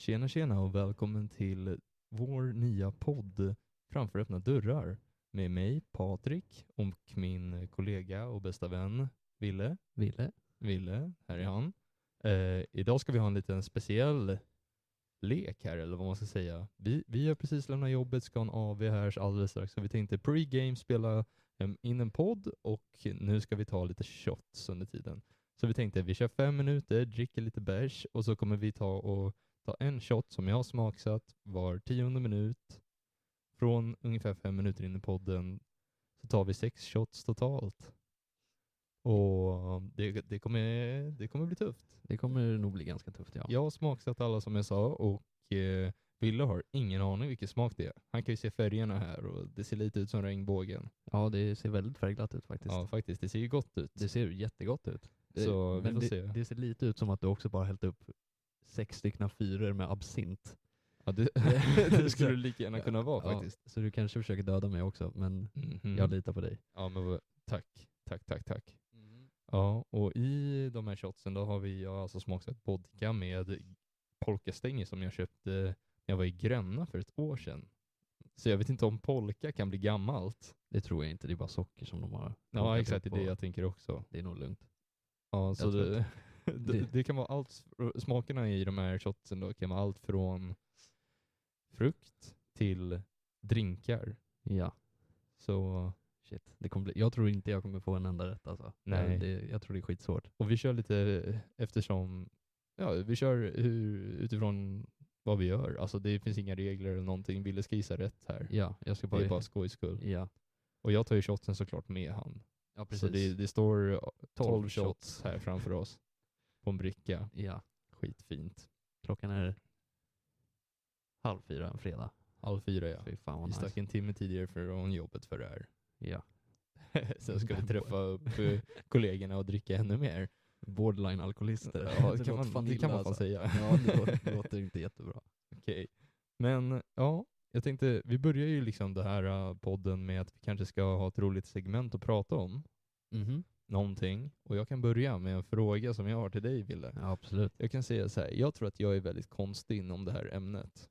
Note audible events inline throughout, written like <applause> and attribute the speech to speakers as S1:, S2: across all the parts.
S1: Tjena tjena och välkommen till vår nya podd Framför öppna dörrar med mig Patrik och min kollega och bästa vän Ville.
S2: Ville.
S1: Ville, här är han. Eh, idag ska vi ha en liten speciell lek här eller vad man ska säga. Vi, vi har precis lämnat jobbet, ska ha en AV här alldeles strax så vi tänkte pre-game spela em, in en podd och nu ska vi ta lite shots under tiden. Så vi tänkte vi kör fem minuter, dricker lite bärs och så kommer vi ta och ta en shot som jag har smaksatt var tionde minut. Från ungefär fem minuter in i podden så tar vi sex shots totalt. Och det, det, kommer, det kommer bli tufft.
S2: Det kommer nog bli ganska tufft ja.
S1: Jag har smaksatt alla som jag sa och eh, Wille har ingen aning vilken smak det är. Han kan ju se färgerna här och det ser lite ut som regnbågen.
S2: Ja, det ser väldigt färgglatt ut faktiskt.
S1: Ja faktiskt, det ser ju gott ut.
S2: Det ser ju jättegott ut.
S1: Så
S2: Eh,
S1: vi
S2: men
S1: får
S2: det,
S1: se.
S2: det ser lite ut som att du också bara hällt upp sex stycken fyror med absint.
S1: Ja,
S2: <laughs>
S1: det, <laughs> det skulle det lika gärna kunna vara
S2: Ja,
S1: faktiskt.
S2: Så du kanske försöker döda mig också, men
S1: Mhm.
S2: jag litar på dig.
S1: Ja, men vad- tack, tack, tack, tack. Ja, och i de här shotsen då har vi jag har alltså smaksatt vodka med polkastänger som jag köpte när jag var i Gränna för ett år sedan. Så jag vet inte om polka kan bli gammalt.
S2: Det tror jag inte, det är bara socker som de har
S1: Ja,
S2: plockat
S1: exakt, det
S2: upp
S1: är det
S2: och-
S1: jag tänker också.
S2: Det är nog lugnt.
S1: Ja, så
S2: tror
S1: det, <laughs> det,
S2: Det-
S1: det kan vara allt, smakerna i de här shotsen då kan vara allt från frukt till drinkar.
S2: Ja,
S1: Så,
S2: shit. Det kommer bli, jag tror inte jag kommer få en enda rätt alltså.
S1: Nej.
S2: Det, jag tror det är skitsvårt.
S1: och vi kör lite eftersom, ja vi kör hur, utifrån vad vi gör. Alltså det finns inga regler eller någonting. Ville ska gissa rätt här.
S2: Ja, jag ska
S1: Det
S2: bara...
S1: är bara skojs skull.
S2: ja.
S1: Och jag tar ju shotsen såklart med han.
S2: ja, precis.
S1: Så det, det står 12
S2: Tolv
S1: shots, här framför oss. På en bricka.
S2: Ja,
S1: Skitfint.
S2: klockan är halv fyra en fredag.
S1: Halv fyra ja.
S2: Fy fan
S1: Vi
S2: vad nice.
S1: stack en timme tidigare från jobbet för det
S2: <laughs>
S1: här.
S2: Ja.
S1: Sen ska vi träffa upp eh, kollegorna och dricka ännu mer.
S2: Borderline-alkoholister. <laughs>
S1: Ja, det, kan
S2: låter
S1: man,
S2: fan
S1: det
S2: illa
S1: kan man fan
S2: alltså.
S1: säga. <laughs>
S2: Ja, det låter, det låter inte jättebra.
S1: Okej. Men ja, jag tänkte, vi börjar ju liksom den här eh, podden med att vi kanske ska ha ett roligt segment att prata om. Mhm. Någonting. Och jag kan börja med en fråga som jag har till dig, Ville.
S2: Ja, absolut.
S1: Jag kan säga så här, jag tror att jag är väldigt konstig inom det här ämnet.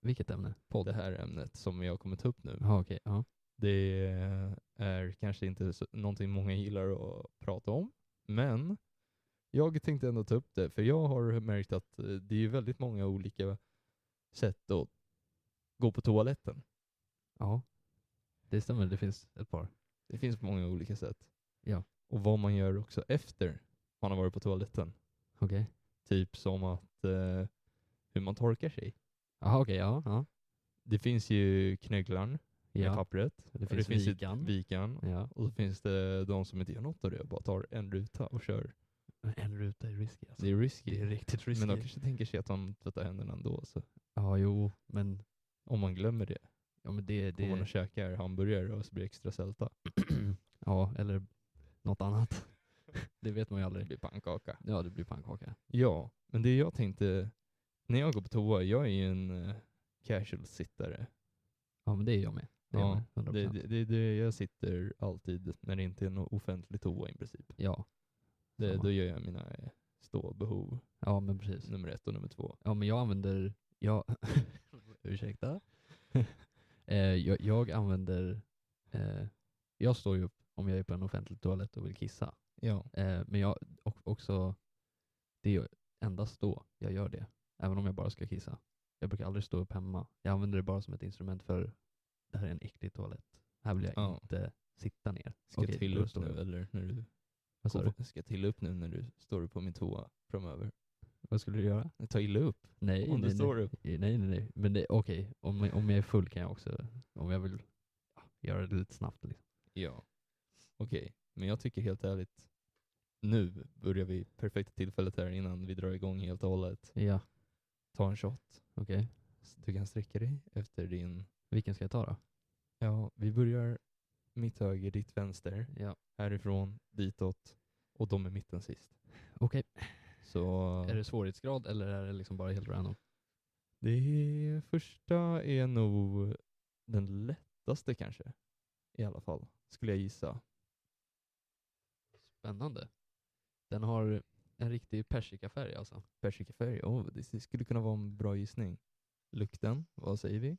S2: Vilket ämne? Podd?
S1: Det här ämnet som jag kommer ta upp nu.
S2: Ja, okej. Ja.
S1: Det är kanske inte så, någonting många gillar att prata om, men jag tänkte ändå ta upp det, för jag har märkt att eh, det är ju väldigt många olika sätt att gå på toaletten.
S2: ja. Det stämmer, det finns ett par.
S1: Det finns många olika sätt.
S2: Ja.
S1: Och vad man gör också efter man har varit på toaletten.
S2: Okej.
S1: Typ som att eh, hur man torkar sig.
S2: Jaha, okej. Ja. Ja.
S1: Det finns ju knögglarn med
S2: ja. Mm.
S1: pappret.
S2: Det
S1: Och
S2: finns
S1: ju
S2: vikan.
S1: vikan.
S2: Ja.
S1: Och så finns det de som inte gör något av det och bara tar en ruta och kör.
S2: Men en ruta är risky alltså.
S1: Det är risky.
S2: Det är riktigt risky.
S1: men de kanske tänker sig att de tvättar händerna ändå. Så.
S2: Ja, jo, men,
S1: Om man glömmer det.
S2: ja, men det...
S1: Om man och
S2: det...
S1: käkar hamburgare och så blir det extra sälta.
S2: ja, eller något annat. <laughs> det vet man ju
S1: Det
S2: aldrig.
S1: blir pannkaka.
S2: Ja, det blir pannkaka.
S1: Ja, men det jag tänkte. När jag går på toa, jag är ju en eh, casual sittare.
S2: Ja, men det är jag med. Det är
S1: Ja,
S2: jag med. 100%.
S1: Det, det, det, det, jag sitter alltid när det inte är någon offentlig toa i princip.
S2: Ja.
S1: Det,
S2: Samma.
S1: då gör jag mina eh, ståbehov
S2: ja, men precis.
S1: nummer ett och nummer två.
S2: Ja, men jag använder... Jag, <laughs>
S1: <laughs>
S2: ursäkta. eh, jag, jag använder... Eh, jag står ju upp om jag är på en offentlig toalett och vill kissa.
S1: Ja,
S2: Eh, men jag och, också... Det är ju endast då jag gör det. Även om jag bara ska kissa. Jag brukar aldrig stå upp hemma. Jag använder det bara som ett instrument för det här är en äcklig toalett. Här vill jag
S1: Ja.
S2: inte sitta ner.
S1: ska
S2: Okej,
S1: till
S2: då
S1: upp
S2: står
S1: nu
S2: jag.
S1: eller när du
S2: Vad sa
S1: Gå
S2: du?
S1: på- Ska till upp nu när du står på min toa framöver.
S2: Vad skulle du göra?
S1: Ta illa upp
S2: Nej,
S1: om
S2: nej,
S1: du
S2: nej.
S1: står upp.
S2: Nej, nej, nej. Men det- okej, om, jag- om jag är full kan jag också, om jag vill ja, göra det lite snabbt. Liksom.
S1: Ja. Okej, men jag tycker helt ärligt, nu börjar vi perfekta tillfället här innan vi drar igång helt och hållet.
S2: Ja,
S1: Ta en shot.
S2: okej.
S1: Så du kan sträcka dig efter din...
S2: Vilken ska jag ta då?
S1: Ja, vi börjar mitt höger, ditt vänster.
S2: Ja.
S1: Härifrån, ditåt och de i mitten sist.
S2: Okej.
S1: Så
S2: Är det svårighetsgrad eller är det liksom bara helt random?
S1: det första är nog den lättaste kanske. I alla fall, skulle jag gissa.
S2: Spännande. Den har en riktig persikafärg alltså.
S1: Persikafärg, oh, det skulle kunna vara en bra gissning. Lukten, vad säger vi?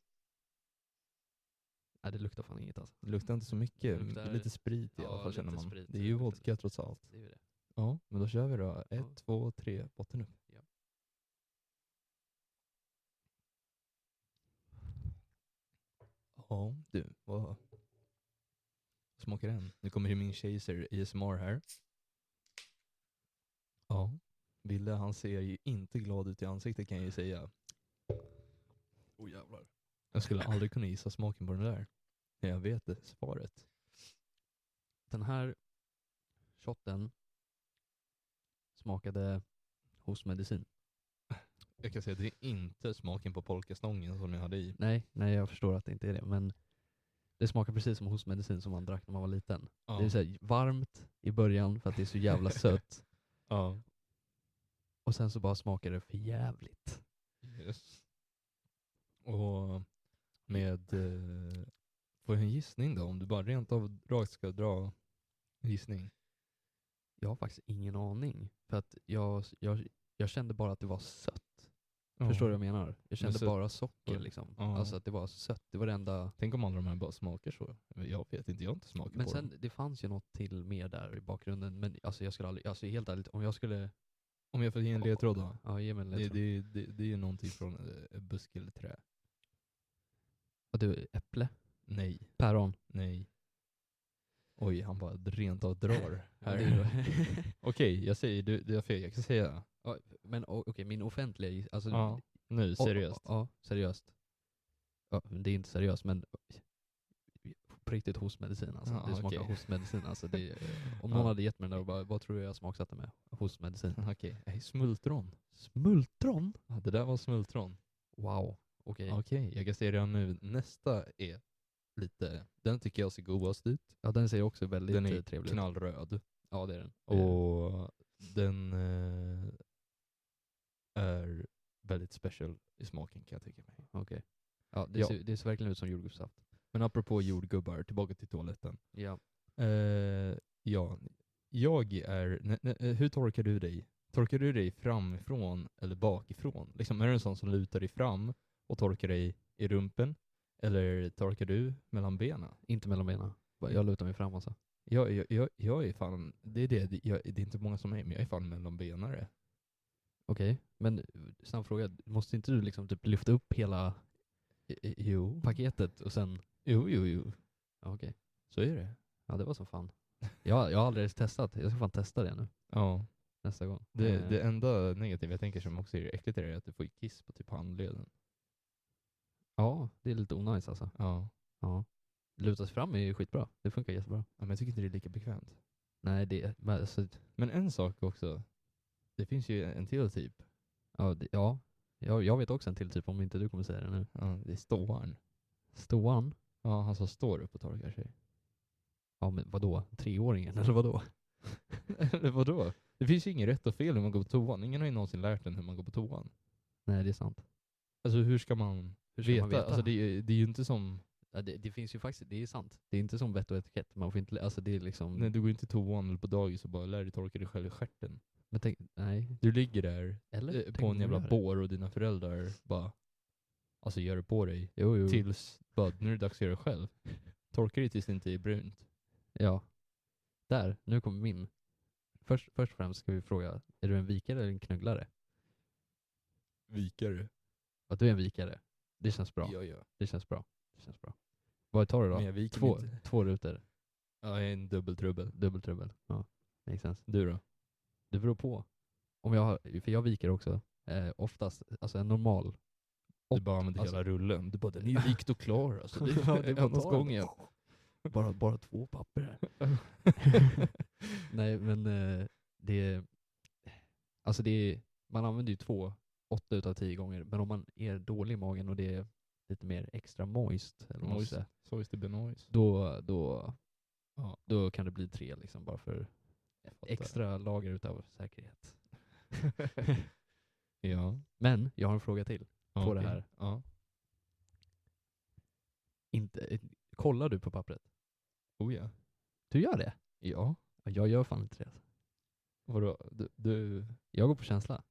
S2: Nej, det luktar fan inget alltså.
S1: Det luktar inte så mycket,
S2: Det
S1: men
S2: luktar-
S1: lite sprit i
S2: ja,
S1: alla fall känner
S2: lite
S1: man.
S2: sprit,
S1: det är
S2: det
S1: ju
S2: luktar
S1: vodka
S2: lite.
S1: trots allt.
S2: Det är ju det.
S1: Ja, men då kör vi då. Ett,
S2: Ja.
S1: två, tre, botten upp. Ja, du. Vad smakar den? Nu kommer ju min chaser ASMR här. Ja, Ville han ser ju inte glad ut i ansiktet kan jag ju säga.
S2: Oh jävlar.
S1: Jag skulle aldrig kunna gissa smaken på den där. Men Jag vet det, svaret.
S2: Den här shotten smakade hostmedicin.
S1: Jag kan säga att det är inte smaken på polkastången som jag hade i.
S2: Nej, nej jag förstår att det inte är det, men det smakar precis som hostmedicin som man drack när man var liten.
S1: Ja.
S2: Det är så här varmt i början för att det är så <laughs> jävla sött
S1: ja.
S2: och sen så bara smakar det för jävligt.
S1: Yes. Och med... Eh, får jag en gissning då? Om du bara rent av rakt ska dra en gissning.
S2: Jag har faktiskt ingen aning för att jag, jag, jag kände bara att det var sött. Förstår du vad jag menar? Jag kände
S1: sött-
S2: bara socker
S1: Ja.
S2: liksom.
S1: Ja.
S2: Alltså att det var sött, det var det enda
S1: Tänk om alla de här bara smakar så. Jag vet inte, jag har inte smakat
S2: Men
S1: på
S2: sen,
S1: dem.
S2: det fanns ju något till mer där i bakgrunden, men alltså jag skulle aldrig, alltså helt ärligt, om jag skulle...
S1: Om jag får ge en ledtråd då?
S2: Ja, ge mig en
S1: Det,
S2: ledtråd.
S1: det, det, det är ju någonting från eh, buske eller trä.
S2: Och du, äpple?
S1: Nej,
S2: Päron?
S1: nej. Oj, han bara rent av drar.
S2: <laughs> Ja,
S1: här.
S2: det är
S1: Okej,
S2: då- <laughs>
S1: jag säger, du, du har fel. Jag kan säga
S2: Ja, men o- okej, min offentliga giss- alltså,
S1: Ja, nu,
S2: o-
S1: seriöst.
S2: Ja, seriöst. Ja, men det är inte seriöst, men på riktigt hostmedicin alltså.
S1: Ja,
S2: det smakar
S1: okej.
S2: hostmedicin alltså.
S1: <laughs>
S2: Det, är- om
S1: Ja.
S2: någon hade gett mig den där och bara, vad tror du jag smaksatte med?
S1: <laughs>
S2: Hostmedicin.
S1: Okej, okay. smultron.
S2: Smultron?
S1: Ja, det där var smultron.
S2: Wow, okej.
S1: Okej, jag kan säga redan nu, nästa är lite, den tycker jag ser godast ut.
S2: Ja, den ser också väldigt
S1: Den
S2: eh,
S1: är
S2: trevlig ut.
S1: knallröd.
S2: Ja, det är den. Det är den.
S1: Och den eh, är väldigt special i smaken kan jag tänka mig.
S2: Ja, det,
S1: Ja.
S2: Ser, det ser verkligen ut som jordgubbssaft.
S1: Men apropå jordgubbar, tillbaka till toaletten.
S2: Ja.
S1: Eh, ja, jag är, ne, ne, eh, hur torkar du dig? Torkar du dig framifrån eller bakifrån? Liksom, är du en sån som lutar dig fram och torkar dig i rumpen? Eller torkar du mellan benen?
S2: Inte mellan benen. Va,
S1: Mm.
S2: Jag lutar mig fram alltså.
S1: Jag, jag, jag, jag är fan, det är det, det- jag, det är inte många som är, men jag är fan mellanbenare.
S2: Okej, men eh, snabb fråga. Måste inte du liksom typ lyfta upp hela
S1: Jo.
S2: paketet och sen...
S1: Jo, jo, jo.
S2: Ja, Okej.
S1: Så är det.
S2: Ja, det var
S1: <laughs>
S2: som fan. Jag, jag har aldrig ens testat. Jag ska fan testa det nu
S1: Ja.
S2: nästa gång.
S1: Det,
S2: Eh,
S1: det enda negativa jag tänker som också är äckligt är det att du får kiss på typ handleden.
S2: Ja, det är lite onajs alltså.
S1: Ja.
S2: Ja. Lutas fram är ju skitbra. Det funkar jättebra.
S1: ja. Men jag tycker inte det är lika bekvämt.
S2: Nej, det... Men, alltså,
S1: Men en sak också. Det finns ju en till typ.
S2: ja, det, ja. Jag, jag vet också en till typ om inte du kommer säga det nu.
S1: Ja, det är ståaren.
S2: Ståan?
S1: Ja, han som står upp och torkar sig.
S2: Ja, men vadå? Treåringen <laughs> eller vadå?
S1: <laughs> Eller vadå? Det finns ju inget rätt och fel hur man går på toan. Ingen har ju någonsin lärt en hur man går på toan.
S2: Nej, det är sant.
S1: Alltså hur ska man
S2: Hur
S1: veta? Alltså det, är- det är ju inte som
S2: Ja, det, det finns ju faktiskt, det är sant. Det är inte som vett och etikett. Man får inte, lä- alltså det är liksom...
S1: Nej, du går inte till toan eller på dagis och bara lär dig torka dig själv i stjärten.
S2: Men tänk, nej.
S1: Du ligger där
S2: Eller?
S1: eh,
S2: Tänk
S1: på
S2: om
S1: en
S2: du
S1: jävla
S2: gör det.
S1: bår och dina föräldrar bara alltså gör det på dig
S2: Jo, jo.
S1: tills bara, nu är det dags att göra det själv. Torka dig tills det inte är brunt.
S2: Ja. Där, nu kommer min. Först, först och främst ska vi fråga, är du en vikare eller en knugglare?
S1: Vikare.
S2: Att du är en vikare. Det känns bra.
S1: Bra. Ja, ja.
S2: Det känns bra. Det känns bra. Vad tar du
S1: Men
S2: då?
S1: jag viker
S2: Två,
S1: inte.
S2: två rutor.
S1: Ja, jag är en dubbeltrubbel.
S2: Dubbeltrubbel. Ja, makes sense.
S1: Du då?
S2: Det beror på. Om jag har, för jag viker också. Eh, oftast, alltså en normal.
S1: Du bara använder
S2: alltså-
S1: hela rullen. Du bara, den är ju vikt och klar alltså. Det <laughs>
S2: <laughs> <laughs> Ja, det är
S1: är
S2: bara att
S1: annars
S2: ta den.
S1: gången.
S2: Bara, bara två papper här. <laughs> Nej, men eh, det... Alltså det är, man använder ju två, åtta utav tio gånger, men om man är dålig i magen och det är lite mer extra moist, eller vad man
S1: Moist.
S2: ska säga,
S1: Så is det benois.
S2: då, då,
S1: Ja.
S2: då kan det bli tre liksom bara för
S1: fattar.
S2: extra lager utav <laughs> säkerhet.
S1: Ja.
S2: Men jag har en fråga till.
S1: ja,
S2: På det
S1: okej.
S2: här.
S1: Ja.
S2: Inte, eh, kollar du på pappret?
S1: Oh ja.
S2: Du gör det?
S1: Ja.
S2: Ja, Jag gör fan inte det. alltså.
S1: Vadå? Du, du,
S2: Jag går på känsla.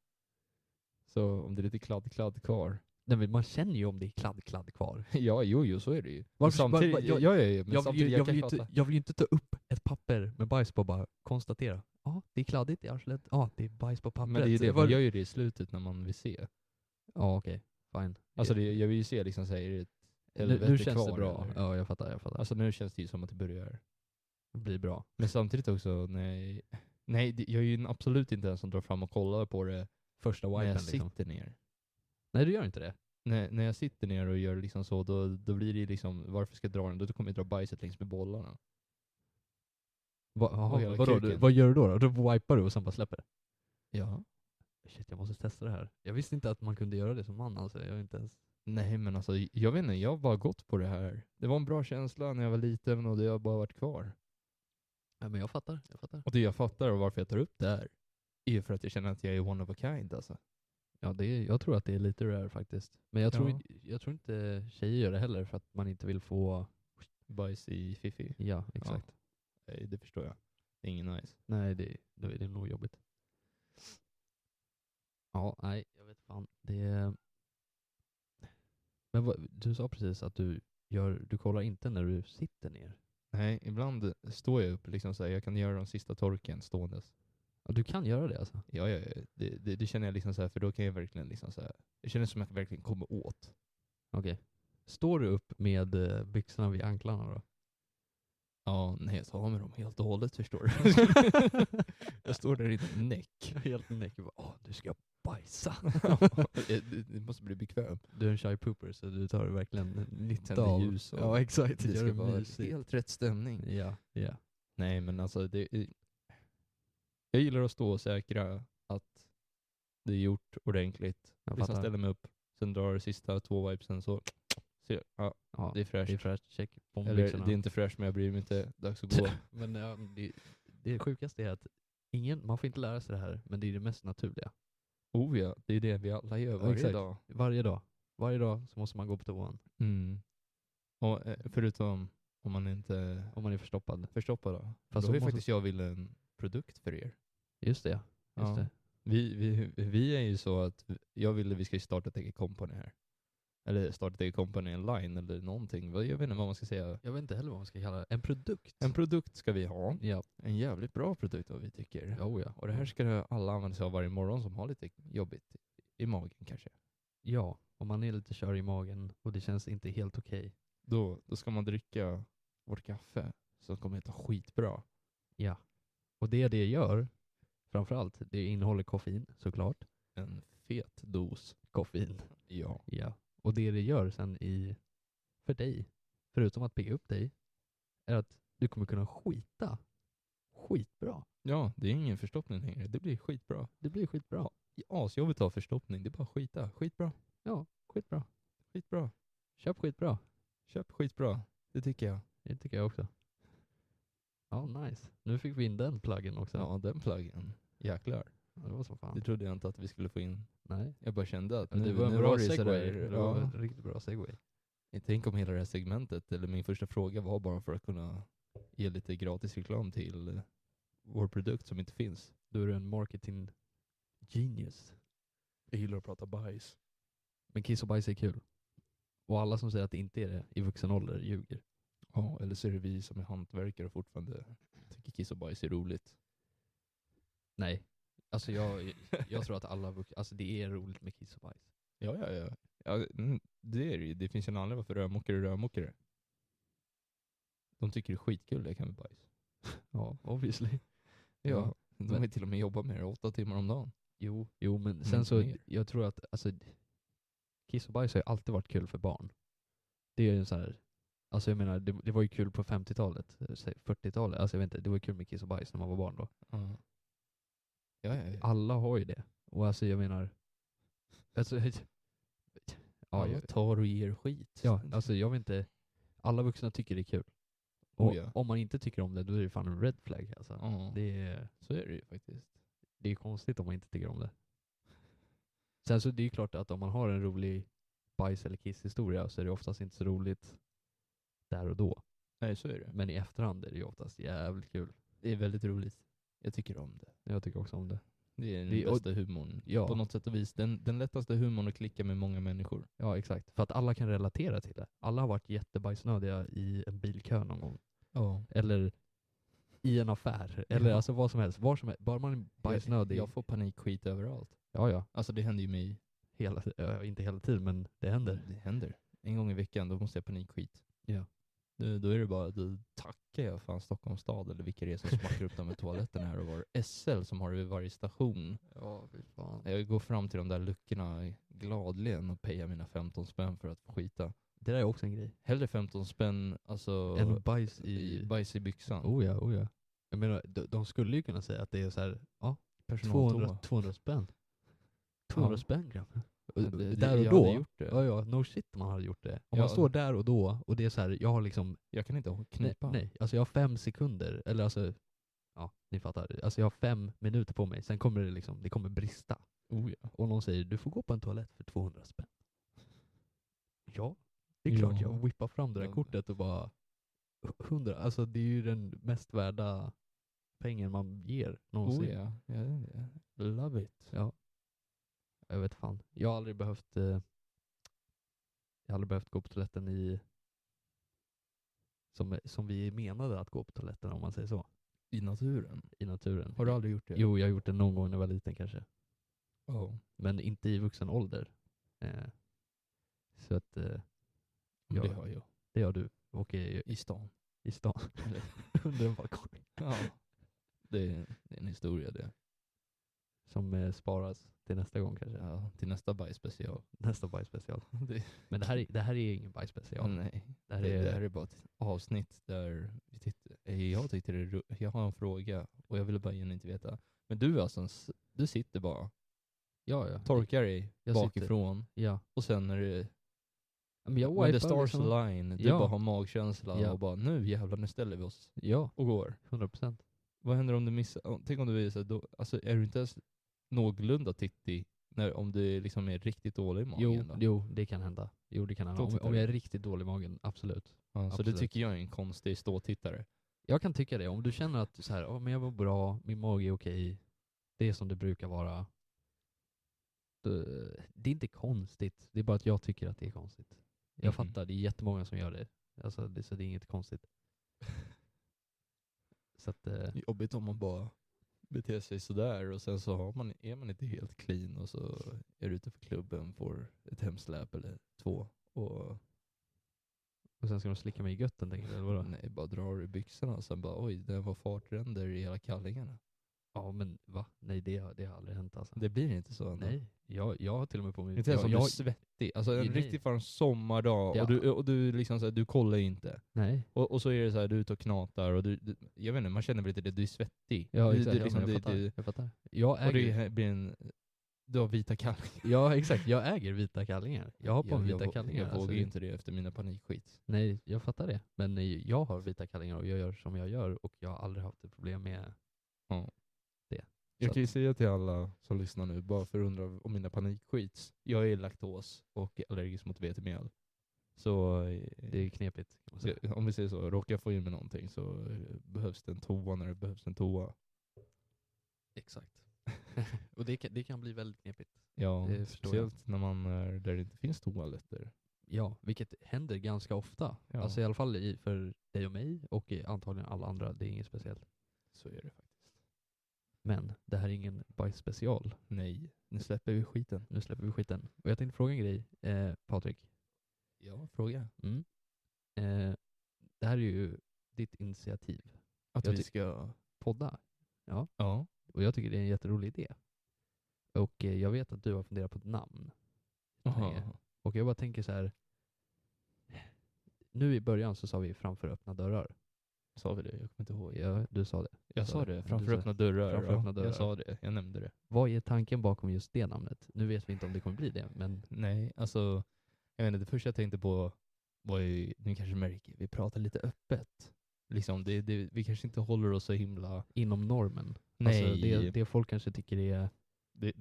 S1: så om det är lite kladd-kladd kvar? <laughs>
S2: Nej, men man känner ju om det är kladd, kladd kvar.
S1: Ja, jo, jo, så är det ju. Men
S2: Varför-
S1: samtidigt,
S2: var- var-
S1: ja, ja, ja, men
S2: Jag vill, ju,
S1: samtidigt,
S2: jag,
S1: kan
S2: vill ju inte,
S1: fatta.
S2: jag vill ju inte ta upp ett papper med bajs på och bara konstatera. Ja, det är kladdigt i arslet. Ja, det är bajs på pappret.
S1: Men det är ju det,
S2: Var-
S1: man gör ju det i slutet när man vill se.
S2: Ja, okej. Fine.
S1: Alltså det, jag vill ju se liksom, säger det
S2: nu,
S1: helvete
S2: nu känns det
S1: kvar,
S2: bra.
S1: eller?
S2: Ja, jag fattar. Jag fattar.
S1: Alltså nu känns det ju som att det börjar.
S2: det blir bra.
S1: Men samtidigt också, nej. Nej, det- jag är ju absolut inte den som drar fram och kollar på det
S2: Första
S1: när
S2: wipen
S1: jag
S2: liksom.
S1: sitter ner.
S2: Nej, du gör inte det.
S1: När, när jag sitter ner och gör liksom så, då, då blir det ju liksom, varför ska jag dra den? Då kommer jag dra bajset längs med bollarna.
S2: Va, aha,
S1: hela
S2: vadå, du,
S1: kuken.
S2: vad gör du då? då? Då wipar du och sen bara släpper det?
S1: Ja.
S2: Shit, jag måste testa det här. Jag visste inte att man kunde göra det som man alltså. Jag är inte ens...
S1: Nej men alltså, jag vet inte, jag har bara gått på det här. Det var en bra känsla när jag var liten och det har bara varit kvar.
S2: Nej, men jag fattar. Jag fattar.
S1: Och det jag fattar och varför jag tar upp det här är ju för att jag känner att jag är one of a kind alltså.
S2: Ja, det är, jag tror att det är lite rare faktiskt. Men jag tror,
S1: Ja.
S2: jag tror inte tjejer gör det heller för att man inte vill få...
S1: Bajs i Fifi.
S2: Ja, exakt.
S1: Eh, Det förstår jag. Det är ingen nice.
S2: Nej, det, då är det nog jobbigt. Ja, nej, jag vet fan. Det är... Men vad, du sa precis att du, gör, du kollar inte när du sitter ner.
S1: Nej, ibland står jag upp liksom så här, jag kan göra den sista torken ståendes.
S2: Ja, du kan göra det alltså?
S1: Ja, ja, ja. Det, det, det känner jag liksom så här, för då kan jag verkligen liksom så här, det känns som att jag verkligen kommer åt.
S2: Okej. Står du upp med eh, byxorna vid anklarna då?
S1: Ja, nej jag tar av mig dem helt och hållet förstår
S2: <laughs>
S1: du. jag står där i ett <laughs> näck.
S2: Helt näck och bara åh, nu ska jag bajsa.
S1: Det- det- Det måste bli bekväm.
S2: <laughs> du är en shy pooper så du tar verkligen nytta
S1: Tänder
S2: av...
S1: ljus och-
S2: ja, exakt.
S1: Det
S2: Gör
S1: ska vara
S2: mysigt.
S1: helt rätt stämning.
S2: Ja, ja.
S1: Nej men alltså, det, jag gillar att stå och säkra att det är gjort ordentligt.
S2: Jag
S1: Liksom
S2: fattar.
S1: ställer mig upp, sen drar sista två vipesen så, ser, ja,
S2: Ja,
S1: det är fräscht.
S2: det är fräscht. Check på
S1: Eller
S2: byxorna.
S1: det är inte fräscht men jag bryr mig inte, dags att gå.
S2: Men ja, det, det sjukaste är att ingen, man får inte lära sig det här, men det är det mest naturliga.
S1: oh ja, det är det vi alla gör
S2: Ja,
S1: varje
S2: exakt.
S1: dag.
S2: Varje dag. Varje dag så måste man gå på toan
S1: Mm. Och, eh, förutom om man inte är
S2: om man är förstoppad.
S1: förstoppad då.
S2: Fast
S1: då
S2: då
S1: har ju
S2: måste-
S1: faktiskt jag vill en produkt för er.
S2: Just det, ja. just
S1: Ja.
S2: det.
S1: Vi, vi, vi är ju så att jag ville vi ska ju starta ett eget company här. Eller starta ett eget company online eller någonting. Vad- Jag vet inte vad man ska säga.
S2: Jag vet inte heller vad man ska kalla det. En produkt.
S1: En produkt ska vi ha.
S2: ja.
S1: En jävligt bra produkt vad vi tycker.
S2: Oh, ja.
S1: Och det här ska alla använda sig av varje morgon som har lite jobbigt i magen kanske.
S2: ja, om man är lite kör i magen och det känns inte helt okej.
S1: Då, då ska man dricka vårt kaffe som kommer heta skitbra.
S2: Ja. Och det det gör, framförallt, det innehåller koffein såklart.
S1: En fet dos.
S2: Koffein.
S1: Ja.
S2: Ja. Och det det gör sen i, för dig, förutom att pigga upp dig, är att du kommer kunna skita skitbra.
S1: Ja, det är ingen förstoppning längre. Det blir skitbra.
S2: Det blir skitbra.
S1: Asjobbigt att ha förstoppning. Det är bara skita. Skitbra.
S2: Ja, skitbra.
S1: Skitbra.
S2: Köp skitbra.
S1: Köp skitbra. Det tycker jag.
S2: Det tycker jag också. Ja, nice. Nu fick vi in den pluggen också.
S1: Ja, den pluggen. Jäklar.
S2: Ja, det var som fan.
S1: Det trodde jag inte att vi skulle få in.
S2: Nej.
S1: Jag bara kände att
S2: Ja, Det
S1: nu,
S2: var en
S1: nu
S2: bra
S1: har det ju
S2: segway.
S1: sådär-
S2: Det var
S1: Ja.
S2: en riktigt bra segway.
S1: Tänk om hela det här segmentet, eller min första fråga var bara för att kunna ge lite gratis reklam till eh, vår produkt som inte finns.
S2: Då är du en marketing genius.
S1: Jag gillar att prata bajs.
S2: Men kiss och bajs är kul. Och alla som säger att det inte är det i vuxen ålder ljuger.
S1: Ja, eller så är det vi som är hantverkare och fortfarande tycker kiss och bajs är roligt.
S2: Nej. Alltså jag, jag tror att alla vuxna, alltså det är roligt med kiss och bajs.
S1: Ja, ja, ja. ja mm, det, är, det ju. det finns ju en anledning varför rörmokare är rörmokare. De tycker det är skitkul att leka med bajs.
S2: Ja, obviously.
S1: Ja, de har
S2: men-
S1: ju till och med jobbat med det åtta timmar om dagen.
S2: Jo, jo men
S1: Men
S2: sen så,
S1: mer.
S2: jag tror att alltså, kiss och bajs har ju alltid varit kul för barn. Det är ju så här, alltså jag menar, det, det var ju kul på 50-talet, eh, säg 40-talet, alltså jag vet inte, det var ju kul med kiss och bajs när man var barn då.
S1: Ja, ja, ja.
S2: Alla har ju det. Och alltså jag menar, alltså, ja,
S1: Alla
S2: jag,
S1: tar och ger skit.
S2: ja, alltså jag vet inte, alla vuxna tycker det är kul. Och
S1: Oh, ja.
S2: om man inte tycker om det, då är det fan en red flag alltså.
S1: Ja,
S2: Det är,
S1: så är det ju faktiskt.
S2: det är konstigt om man inte tycker om det. Sen så det är ju klart att om man har en rolig bajs eller kisshistoria så är det oftast inte så roligt där och då.
S1: Nej, så är det.
S2: Men i efterhand är det ju oftast jävligt kul.
S1: Det är väldigt roligt. Jag tycker om det.
S2: Jag tycker också om det.
S1: Det är den
S2: Det- och-
S1: bästa humorn.
S2: Ja.
S1: På något sätt och vis. Den, den lättaste humorn att klicka med många människor.
S2: Ja, exakt. För att alla kan relatera till det. Alla har varit jättebajsnödiga i en bilkö någon gång.
S1: Ja.
S2: Eller i en affär. Eller
S1: Ja.
S2: alltså vad som helst. Var som helst. Bara man är
S1: Jag,
S2: bajsnödig.
S1: jag får panikskit överallt.
S2: Ja, ja.
S1: Alltså det händer ju mig.
S2: Hela, ja, inte hela tiden, men det händer.
S1: Det händer. En gång i veckan, då måste jag panikskit.
S2: Ja.
S1: Då, då är det bara, då tackar jag fan Stockholms stad eller vilka det är som smackar upp de här toaletterna här och var. SL som har det vid varje station.
S2: Ja, fy fan.
S1: Jag går fram till de där luckorna gladligen och pejar mina 15 spänn för att få skita.
S2: Det där är också en grej.
S1: Hellre 15 spänn alltså,
S2: en bajs
S1: i
S2: i...
S1: bajs i byxan.
S2: Oh ja, oh ja. Jag menar, de, de skulle ju kunna säga att det är så här, ja,
S1: Personaltoa.
S2: 200, 200 spänn. 200 spänn grabben. Och-
S1: Ja, det- det-
S2: Där och
S1: jag hade
S2: då.
S1: gjort det.
S2: Ja, ja, no shit om man hade gjort det.
S1: Ja.
S2: Om man står där och då och det är så här, jag har liksom,
S1: Jag kan inte hå-
S2: nej,
S1: knipa.
S2: nej, alltså jag har fem sekunder, eller alltså, ja, ni fattar. Alltså jag har fem minuter på mig, sen kommer det liksom, det kommer brista.
S1: Oh, ja.
S2: Och någon säger, du får gå på en toalett för 200 spänn. Ja, det är klart
S1: Ja.
S2: jag whippar fram det där
S1: Ja.
S2: kortet och bara, 100, alltså det är ju den mest värda pengen man ger någonsin.
S1: Oh, ja. Ja, ja, ja. Love it.
S2: Ja. Jag vet fan. Jag har aldrig behövt eh, Jag har aldrig behövt gå på toaletten i som, som vi menade att gå på toaletten om man säger så.
S1: I naturen.
S2: I naturen.
S1: Har du aldrig gjort det?
S2: Jo, jag har gjort det någon gång när jag var liten kanske.
S1: Ja.
S2: Men inte i vuxen ålder. Eh, så att eh,
S1: Men
S2: Ja.
S1: Det har jag.
S2: det gör du. Och i,
S1: I stan.
S2: i stan.
S1: Eller-
S2: <laughs> Under en balkong.
S1: ja. <laughs> Det är, det är en historia det.
S2: Som eh, sparas till nästa gång kanske.
S1: Ja, till nästa bajsspecial.
S2: Nästa bajsspecial.
S1: Det,
S2: Men <laughs> det här, är- det här är ingen bajsspecial.
S1: Nej,
S2: Det
S1: Mm, det,
S2: här
S1: det här
S2: är,
S1: är bara ett avsnitt där vi tittar. eh, jag tyckte det ro- Jag har en fråga och jag ville bara gärna inte veta. Men du alltså, en s- du sitter bara,
S2: ja, ja.
S1: torkar dig
S2: Jag sitter.
S1: bakifrån
S2: ja.
S1: och sen när det,
S2: Men jag
S1: when
S2: wipar
S1: the stars
S2: liksom.
S1: align, du
S2: Ja.
S1: bara har magkänsla
S2: Ja.
S1: och bara nu jävlar nu ställer vi oss
S2: Ja,
S1: och går.
S2: 100 procent.
S1: Vad händer om du missar? om- Tänk om du är så här, då, alltså är du inte ens någorlunda tittig när, om du liksom är riktigt dålig i magen
S2: Jo,
S1: då?
S2: jo, det kan hända. Jo, det kan hända.
S1: Då
S2: Om,
S1: tittar
S2: om
S1: du.
S2: jag är riktigt dålig i magen, absolut.
S1: Ja, så det
S2: absolut.
S1: tycker jag är en konstig ståtittare.
S2: Jag kan tycka det. Om du känner att så här, "Ja, men jag var bra, min mage är okej, det är som det brukar vara. Då, det är inte konstigt, det är bara att jag tycker att det är konstigt. Jag
S1: Mhm.
S2: fattar, det är jättemånga som gör det. Alltså, det så det är
S1: <laughs>
S2: inget konstigt. Så att, eh,
S1: Jobbigt om man bara beter sig sådär och sen så har man, är man inte helt clean och så är du ute för klubben, får ett hemsläp eller två och
S2: och sen ska de slicka mig i götten tänker du, eller vadå?
S1: nej, bara drar i byxorna och sen bara oj, den var fartränder i hela kallingarna.
S2: Ja men va? Nej det, har- det har aldrig hänt alltså.
S1: Det blir inte så ändå.
S2: Nej, jag, jag har till och med på mig...
S1: Inte ens
S2: jag,
S1: om du
S2: jag,
S1: är svettig. Alltså en
S2: Nej.
S1: riktigt varm sommardag
S2: Ja.
S1: och, du, och du, liksom så här, du kollar ju inte.
S2: nej,
S1: Och, och så är det så här, du är ute och knatar och du, du, jag vet inte, man känner väl lite det, du är svettig.
S2: Ja,
S1: du,
S2: exakt.
S1: du,
S2: ja,
S1: liksom,
S2: men
S1: du,
S2: jag, fattar,
S1: du,
S2: jag fattar. Jag
S1: och
S2: äger,
S1: det blir en, du har vita kallingar.
S2: ja, exakt. Jag äger vita kallingar. Jag har på mig vita
S1: vå-
S2: kallingar.
S1: Jag
S2: alltså,
S1: vågar
S2: det-
S1: ju inte det efter mina panikskit.
S2: Nej, jag fattar det. Men nej, jag har vita kallingar och jag gör som jag gör och jag har aldrig haft ett problem med...
S1: Jag
S2: Så
S1: kan ju säga till alla som lyssnar nu, bara för att undra om mina panikskits. Jag är laktos och allergisk mot vetemjöl. Så eh,
S2: Det är knepigt. Kan man säga.
S1: ska- om vi säger så, råkar jag få in mig någonting så eh, behövs det en toa när det behövs en toa.
S2: Exakt. <laughs> och det kan, det kan bli väldigt knepigt.
S1: Ja,
S2: Det förstår jag.
S1: Eh, speciellt när man är där det inte finns toaletter.
S2: Ja, vilket händer ganska ofta.
S1: Ja.
S2: Alltså i alla fall i, för dig och mig och i antagligen alla andra. Det är inget speciellt.
S1: Så är det faktiskt.
S2: Men det här är ingen bajsspecial.
S1: Nej, nu släpper vi skiten.
S2: Nu släpper vi skiten. Och jag tänkte fråga en grej, eh, Patrik.
S1: Ja, fråga.
S2: Mm. Eh, det här är ju ditt initiativ.
S1: Att
S2: Jag
S1: vi
S2: ty-
S1: ska...
S2: Podda.
S1: Ja.
S2: Och jag tycker det är en jätterolig idé. Och eh, jag vet att du har funderat på ett namn.
S1: Jaha.
S2: Nej. Och jag bara tänker så här. Nu i början så sa vi framför öppna dörrar.
S1: Sa vi det? Jag kommer inte ihåg.
S2: Ja, du sa det.
S1: Jag
S2: sa
S1: sa
S2: det.
S1: det.
S2: Du
S1: Framför
S2: sa-
S1: öppna dörrar.
S2: framför
S1: ja.
S2: öppna dörrar.
S1: Jag sa det. Jag nämnde det.
S2: Vad är tanken bakom just det namnet? Nu vet vi inte om det kommer bli det, men
S1: Nej, alltså. Jag vet inte, det första jag tänkte på var ju, ni kanske märker, vi pratar lite öppet. Liksom, det, det, vi kanske inte håller oss så himla...
S2: inom normen.
S1: Nej,
S2: Alltså det,
S1: det, det,
S2: det folk kanske tycker är...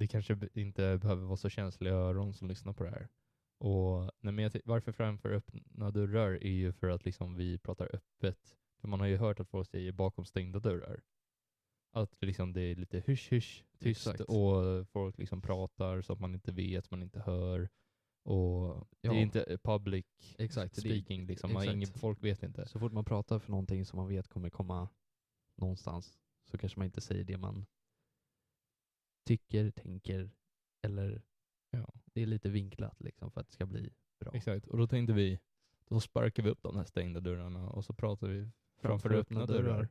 S1: kanske be- inte behöver vara så känsliga öron som lyssnar på det här. Och, nej, men jag ty- varför framför öppna dörrar är ju för att liksom, vi pratar öppet. För man har ju hört att folk säger bakom stängda dörrar. Att liksom det är lite hysch-hysch, tyst
S2: Exakt.
S1: och folk liksom pratar så att man inte vet, man inte hör. Och
S2: Ja.
S1: Det är inte eh, public
S2: Exakt, det är-
S1: speaking, liksom. man
S2: exakt.
S1: ingen, folk vet inte.
S2: Så fort man pratar för någonting som man vet kommer komma någonstans så kanske man inte säger det man tycker, tänker eller
S1: Ja.
S2: det är lite vinklat liksom för att det ska bli bra.
S1: Exakt, och då tänkte vi, då sparkar vi upp de här stängda dörrarna och så pratar vi framför, öppna dörrar,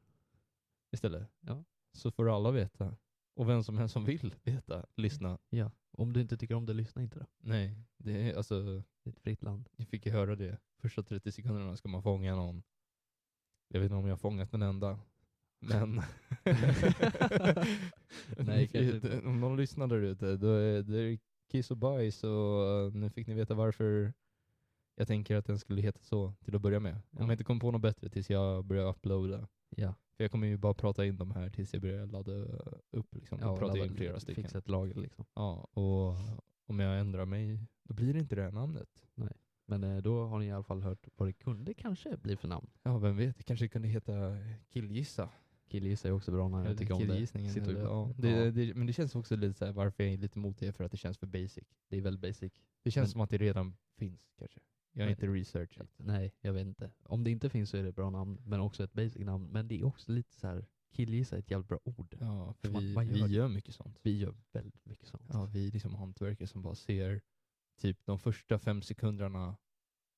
S1: istället.
S2: Ja.
S1: Så får alla veta. Och vem som helst som vill veta, lyssna.
S2: Ja, om du inte tycker om det, lyssna inte då.
S1: Nej, det är alltså,
S2: Det är ett fritt land.
S1: jag fick ju höra det. Första 30 sekunderna ska man fånga någon. Jag vet inte om jag har fångat en enda. <laughs> Men... <laughs>
S2: Nej, kanske inte.
S1: om någon lyssnar där ute, då är det kiss och bajs och eh, nu fick ni veta varför jag tänker att den skulle heta så till att börja med. Om
S2: Ja.
S1: jag inte kommer på något bättre tills jag börjar uploada.
S2: <laughs>
S1: <laughs>
S2: Ja,
S1: För jag kommer ju bara prata in de här tills jag börjar ladda upp liksom.
S2: ja
S1: Ja, prata
S2: ladda-
S1: in flera stycken.
S2: Fixa ett lager liksom.
S1: Ja, och om jag ändrar mig, då blir det inte det här namnet.
S2: Men eh, då har ni i alla fall hört vad det kunde kanske bli för namn.
S1: Ja, vem vet, det kanske kunde heta Killgissa.
S2: Killgissa är också bra när jag tycker om det.
S1: killgissningen
S2: Sitter och-
S1: eller- ja.
S2: Det,
S1: Det, det, men det känns också lite så här, varför jag är lite emot det, för att det känns för basic.
S2: det är väldigt basic.
S1: Det känns
S2: Men-
S1: som att det redan finns kanske. Jag har
S2: Men-
S1: inte researchat.
S2: Nej, jag vet inte. Om det inte finns så är det ett bra namn, men också ett basic namn. Men det är också lite så här, killgissa är ett jävligt bra ord.
S1: Ja, för
S2: Man-
S1: vi,
S2: man
S1: vi
S2: gör-
S1: gör mycket sånt.
S2: Vi gör väldigt mycket sånt.
S1: Ja, vi är liksom hantverkare som bara ser typ de första fem sekunderna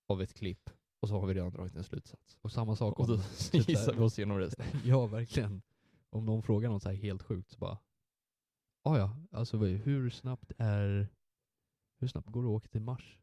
S1: av ett klipp och så har vi redan dragit en <laughs> slutsats.
S2: Och samma sak
S1: Och då
S2: om... typ
S1: gissar
S2: där.
S1: vi oss igenom resten.
S2: <laughs> ja, verkligen. Om någon frågar något så här helt sjukt så bara... Ah, ja, alltså vad är- hur snabbt är... Hur snabbt går det att åka till Mars?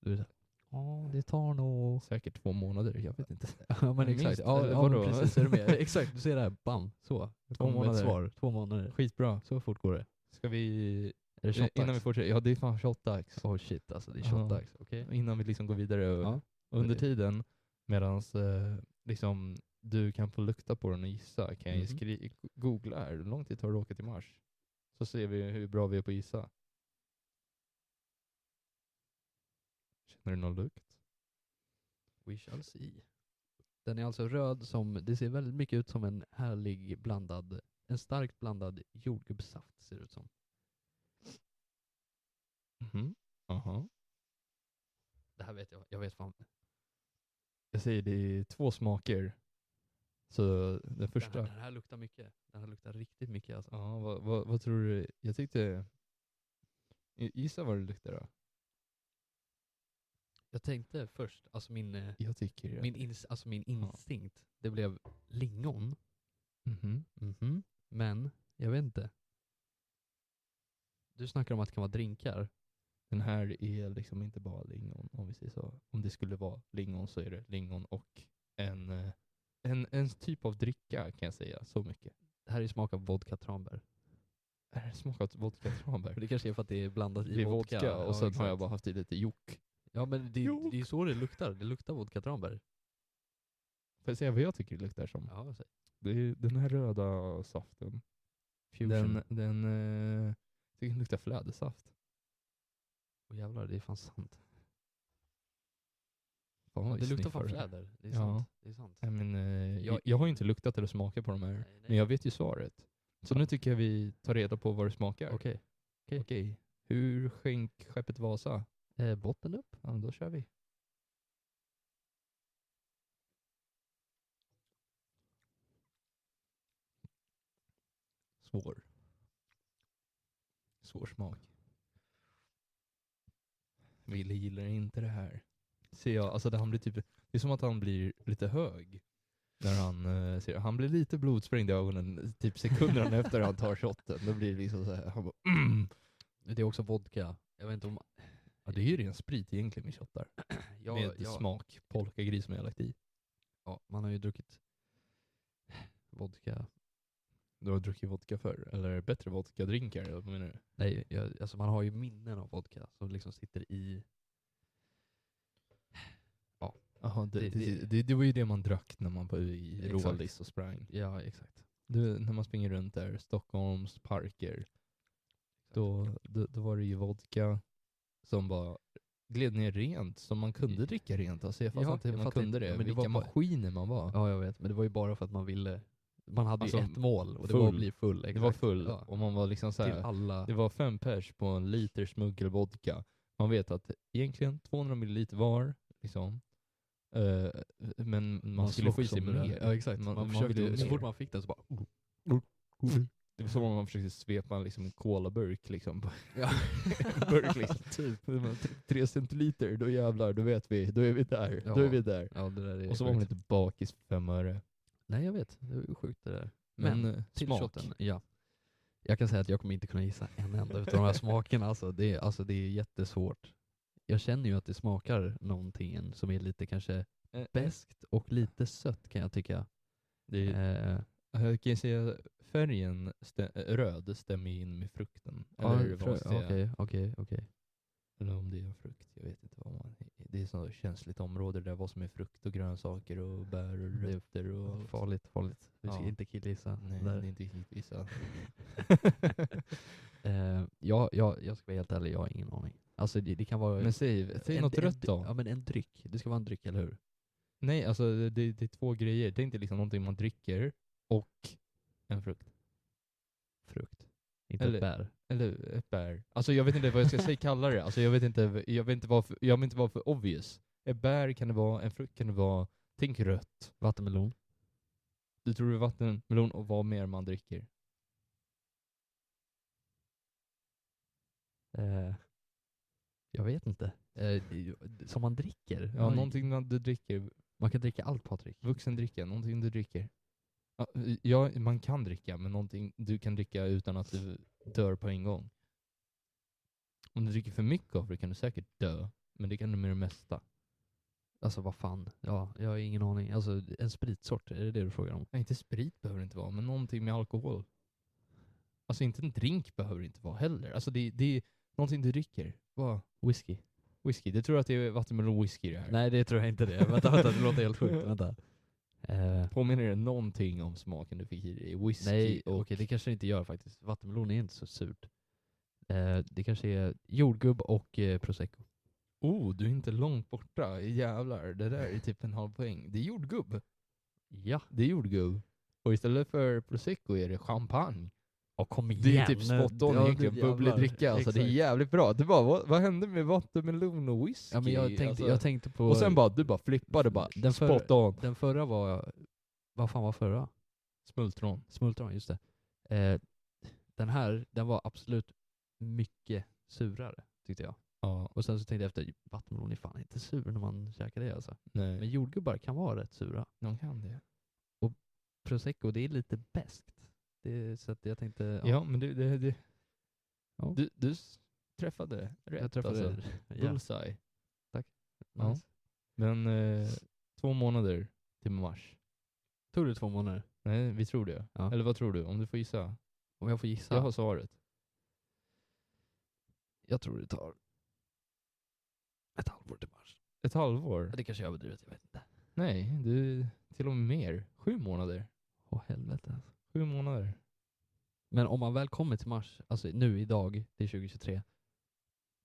S2: Du är så här, ja, det tar
S1: <laughs>
S2: nog...
S1: Säkert två månader, jag vet inte.
S2: <laughs> Ja men
S1: Minst,
S2: exakt, ja,
S1: eller
S2: ja men
S1: vadå?
S2: precis är du med? <laughs> Exakt, du ser det här, bam, så. Två månader.
S1: månader.
S2: Ett svar. Två månader.
S1: Skitbra.
S2: Så fort går det.
S1: Ska vi...
S2: Är det
S1: eh,
S2: shotdags?
S1: Innan vi fortsätter, ja det är fan shotdags.
S2: Oh shit alltså, det är
S1: Ja.
S2: shotdags. Okej.
S1: Innan vi liksom går vidare. Och,
S2: Ja.
S1: och under
S2: det-
S1: tiden, medan eh, liksom, du kan få lukta på den och gissa, kan jag
S2: Mhm.
S1: skri- googla här, hur lång tid tar det att åka till Mars? Så ser vi hur bra vi är på att gissa. Känner du någon lukt?
S2: We shall see. Den är alltså röd som, det ser väldigt mycket ut som en härlig blandad, en starkt blandad jordgubbssaft ser det ut som.
S1: Mhm. Aha.
S2: Det här vet jag, jag vet fan.
S1: Jag säger det är två smaker. Så den första...
S2: Den, här, den här luktar mycket. Den här luktar riktigt mycket alltså.
S1: Ja, vad, vad, vad tror du? Jag tyckte... i- Gissa vad det luktar då?
S2: Jag tänkte först, alltså min, eh,
S1: Jag tycker
S2: min, ins, alltså min instinkt, det blev lingon.
S1: Mhm.
S2: Mhm. Men, jag vet inte. Du snackar om att det kan vara drinkar.
S1: Den här är liksom inte bara lingon om vi säger så. Om det skulle vara lingon så är det lingon och en, eh, en, en typ av dricka kan jag säga. Så mycket.
S2: Det här är smak av vodka tranbär.
S1: Är det smakat vodka
S2: För
S1: tranbär?
S2: det kanske är för att det är blandat i
S1: Det är vodka, och sen har jag
S2: exakt.
S1: bara haft i lite jok.
S2: Ja men det,
S1: Jo.
S2: det är ju så det luktar. Det luktar vodka
S1: Mm.
S2: tranbär.
S1: Får jag säga vad jag tycker det luktar som?
S2: Ja, så-
S1: Det är den här röda saften.
S2: fusion.
S1: Den, den, eh, jag tycker den luktar flädersaft.
S2: Åh, jävlar, det är fan sant.
S1: Fan, vad
S2: Ja,
S1: vi
S2: det luktar
S1: sniffar
S2: fan
S1: det här.
S2: fläder. Det är
S1: Ja.
S2: sant. Det är sant.
S1: Nej, men, eh,
S2: Jag-
S1: jag, jag har ju inte luktat eller smakat på de här,
S2: Nej,
S1: men
S2: nej.
S1: jag vet ju svaret. Så nu tycker jag vi tar reda på vad det smakar.
S2: Okej. okej.
S1: Okej. Hur sjönk skeppet Vasa?
S2: Eh, botten upp.
S1: Ja, men då kör vi. Svår. Svår smak. Ville gillar inte det här. Ser jag, alltså det, han blir typ, det är som att han blir lite hög. När han, eh, ser, han blir lite blodsprängd i ögonen typ sekunderna efter han tar shotten. Då blir det liksom så här, han bara mm.
S2: Det är också vodka. Jag vet inte om...
S1: ja, Det är ju ren sprit egentligen med shottar.
S2: Ja,
S1: med
S2: ja,
S1: smak polkagris som jag har lagt i.
S2: Ja, man har ju druckit vodka.
S1: Du har druckit vodka förr? Eller bättre vodkadrinkar? eller Vad menar du?
S2: Nej, jag, alltså man har ju minnen av vodka som liksom sitter i...
S1: Jaha, det,
S2: Det-
S1: det,
S2: det-
S1: det, det, var ju det man drack när man var i
S2: Exakt.
S1: Rålis och sprang.
S2: Ja, exakt.
S1: Du, när man springer runt där, Stockholms parker, då, då, då var det ju vodka som bara gled ner rent, som man kunde dricka rent. Alltså jag
S2: Ja,
S1: fattar inte hur
S2: jag
S1: man
S2: fattar
S1: kunde
S2: inte,
S1: det,
S2: men det
S1: vilka
S2: var bara-
S1: maskiner man var.
S2: Ja, jag vet. Men det var ju bara för att man ville Man hade ju
S1: Alltså,
S2: ett mål och det var att
S1: full.
S2: bli full.
S1: Det var
S2: exakt.
S1: full
S2: Ja.
S1: och man var liksom så
S2: Till
S1: här,
S2: alla.
S1: Det var fem pers på en liter smuggelvodka. Man vet att egentligen 200 milliliter var, liksom. Eh, men man, skulle få i
S2: slogs
S1: sig
S2: om det
S1: mer.
S2: där. Ja exakt. Man, försökte,
S1: ville
S2: så
S1: mer.
S2: fort man fick den så bara...
S1: Det var som om man försökte svepa en liksom colaburk liksom. på-
S2: <laughs> Ja.
S1: <laughs> burk
S2: <laughs>
S1: liksom.
S2: Typ.
S1: Tre centiliter, då jävlar, då vet vi. Då är vi där. Då är
S2: Ja.
S1: vi där.
S2: Ja det där är
S1: Och så var man
S2: sjukt.
S1: lite bakis för fem öre.
S2: Nej jag vet, det är sjukt det där.
S1: Men,
S2: Men
S1: eh,
S2: Till
S1: smak.
S2: shoten, ja. Jag kan säga att jag kommer inte kunna gissa en enda utav de här smakerna. Alltså det, är- alltså det är jättesvårt. Jag känner ju att det smakar någonting som är lite kanske
S1: Eh, eh,
S2: beskt och lite sött kan jag tycka.
S1: Det är,
S2: Eh,
S1: jag kan ju säga färgen stä, eh, röd stämmer ju in med frukten.
S2: ja,
S1: Eller vad
S2: frö-
S1: man ska säga.
S2: Okej, okej, okej.
S1: Eller om det är en frukt, jag vet inte vad man... Det är ett sånt känsligt område där vad som är frukt och grönsaker och bär och
S2: Det är
S1: rötter och...
S2: <laughs> Farligt, farligt. Vi ska
S1: Ja.
S2: inte killgissa.
S1: Nej, det
S2: där.
S1: är inte riktigt vissa.
S2: <laughs> Eh, jag, jag, jag ska vara helt ärlig, jag har ingen aning. Alltså det, det kan vara...
S1: Men säg, säg något
S2: en,
S1: rött
S2: en, Ja
S1: då.
S2: men en dryck. Det ska vara en dryck, eller hur?
S1: Nej, alltså det, det det är två grejer. Tänk dig liksom någonting man dricker och en frukt.
S2: Frukt. Inte
S1: Eller-
S2: ett bär.
S1: Eller ett bär. Alltså jag vet inte vad jag ska säga kalla det. Alltså jag vet inte, jag vet inte vad för, jag vill inte vara för obvious. Ett bär kan det vara, en frukt kan det vara. Tänk rött.
S2: Vattenmelon.
S1: Du tror det är vatten, melon och vad mer man dricker.
S2: Eh, jag vet inte. Eh, det- som man dricker?
S1: Ja, någonting man- du dricker.
S2: Man kan dricka allt Patrik.
S1: Vuxendricka, någonting du dricker. Ja, eh, Ja, man kan dricka, men någonting du kan dricka utan att du dör på en gång. Om du dricker för mycket av det kan du säkert dö, men det kan du med det mesta.
S2: Alltså vad fan. Ja, jag har ingen aning. Alltså en spritsort, är det det du frågar om?
S1: Nej, inte sprit behöver det inte vara, men någonting med alkohol. Alltså inte en drink behöver det inte vara heller. Alltså det, det är någonting du dricker. Vad?
S2: Whisky?
S1: Whisky. Du tror att det är vattenmelon whisky det här?
S2: Nej det tror jag inte det. Vänta, vänta, det låter helt sjukt. Vänta. Eh,
S1: Påminner det någonting om smaken du fick i dig? Whisky
S2: nej,
S1: och...
S2: okej det kanske det inte gör faktiskt. Vattenmelon är inte så surt. Eh, det kanske är jordgubb och eh, prosecco.
S1: Oh, du är inte långt borta. Jävlar, det där är typ en halv poäng. Det är jordgubb.
S2: Ja.
S1: Det är jordgubb. Och istället för prosecco är det champagne.
S2: Och kom igen.
S1: Det är ju typ spot on
S2: Ja, det-
S1: egentligen.
S2: jävlar.
S1: Bubblig dricka. Alltså, det är
S2: Exakt.
S1: jävligt bra. Du bara, vad, vad hände med vattenmelon och whisky?
S2: Ja men jag tänkte,
S1: Alltså,
S2: jag tänkte på...
S1: och sen bara, du bara flippade bara.
S2: Den för-
S1: spot on.
S2: Den förra var... Vad fan var förra?
S1: Smultron.
S2: Smultron, just det. Eh, den här, den var absolut mycket surare tyckte jag.
S1: Ja,
S2: Och sen så tänkte jag efter, vattenmelon är fan inte sur när man käkar det alltså.
S1: nej.
S2: Men jordgubbar kan vara rätt sura.
S1: någon kan det.
S2: Prosecco, det är lite beskt. Det- Så att jag tänkte,
S1: Ja, men du, det, det,
S2: Ja.
S1: du, du s- träffade rätt
S2: jag träffade... <laughs>
S1: alltså.
S2: ja, nice.
S1: Bullseye. ja. Men eh, två månader till mars.
S2: Tog det två månader?
S1: Nej, vi tror det.
S2: Ja.
S1: Eller vad tror du? Om du får gissa.
S2: Om jag får gissa?
S1: Jag har svaret.
S2: jag tror det tar ett halvår till mars.
S1: Ett halvår?
S2: Ja, Det kanske är överdrivet, jag vet inte.
S1: Nej, du, till och med mer. Sju månader.
S2: Åh helvete alltså.
S1: Sju månader.
S2: Men om man väl kommer till mars, alltså nu idag, det är 2023,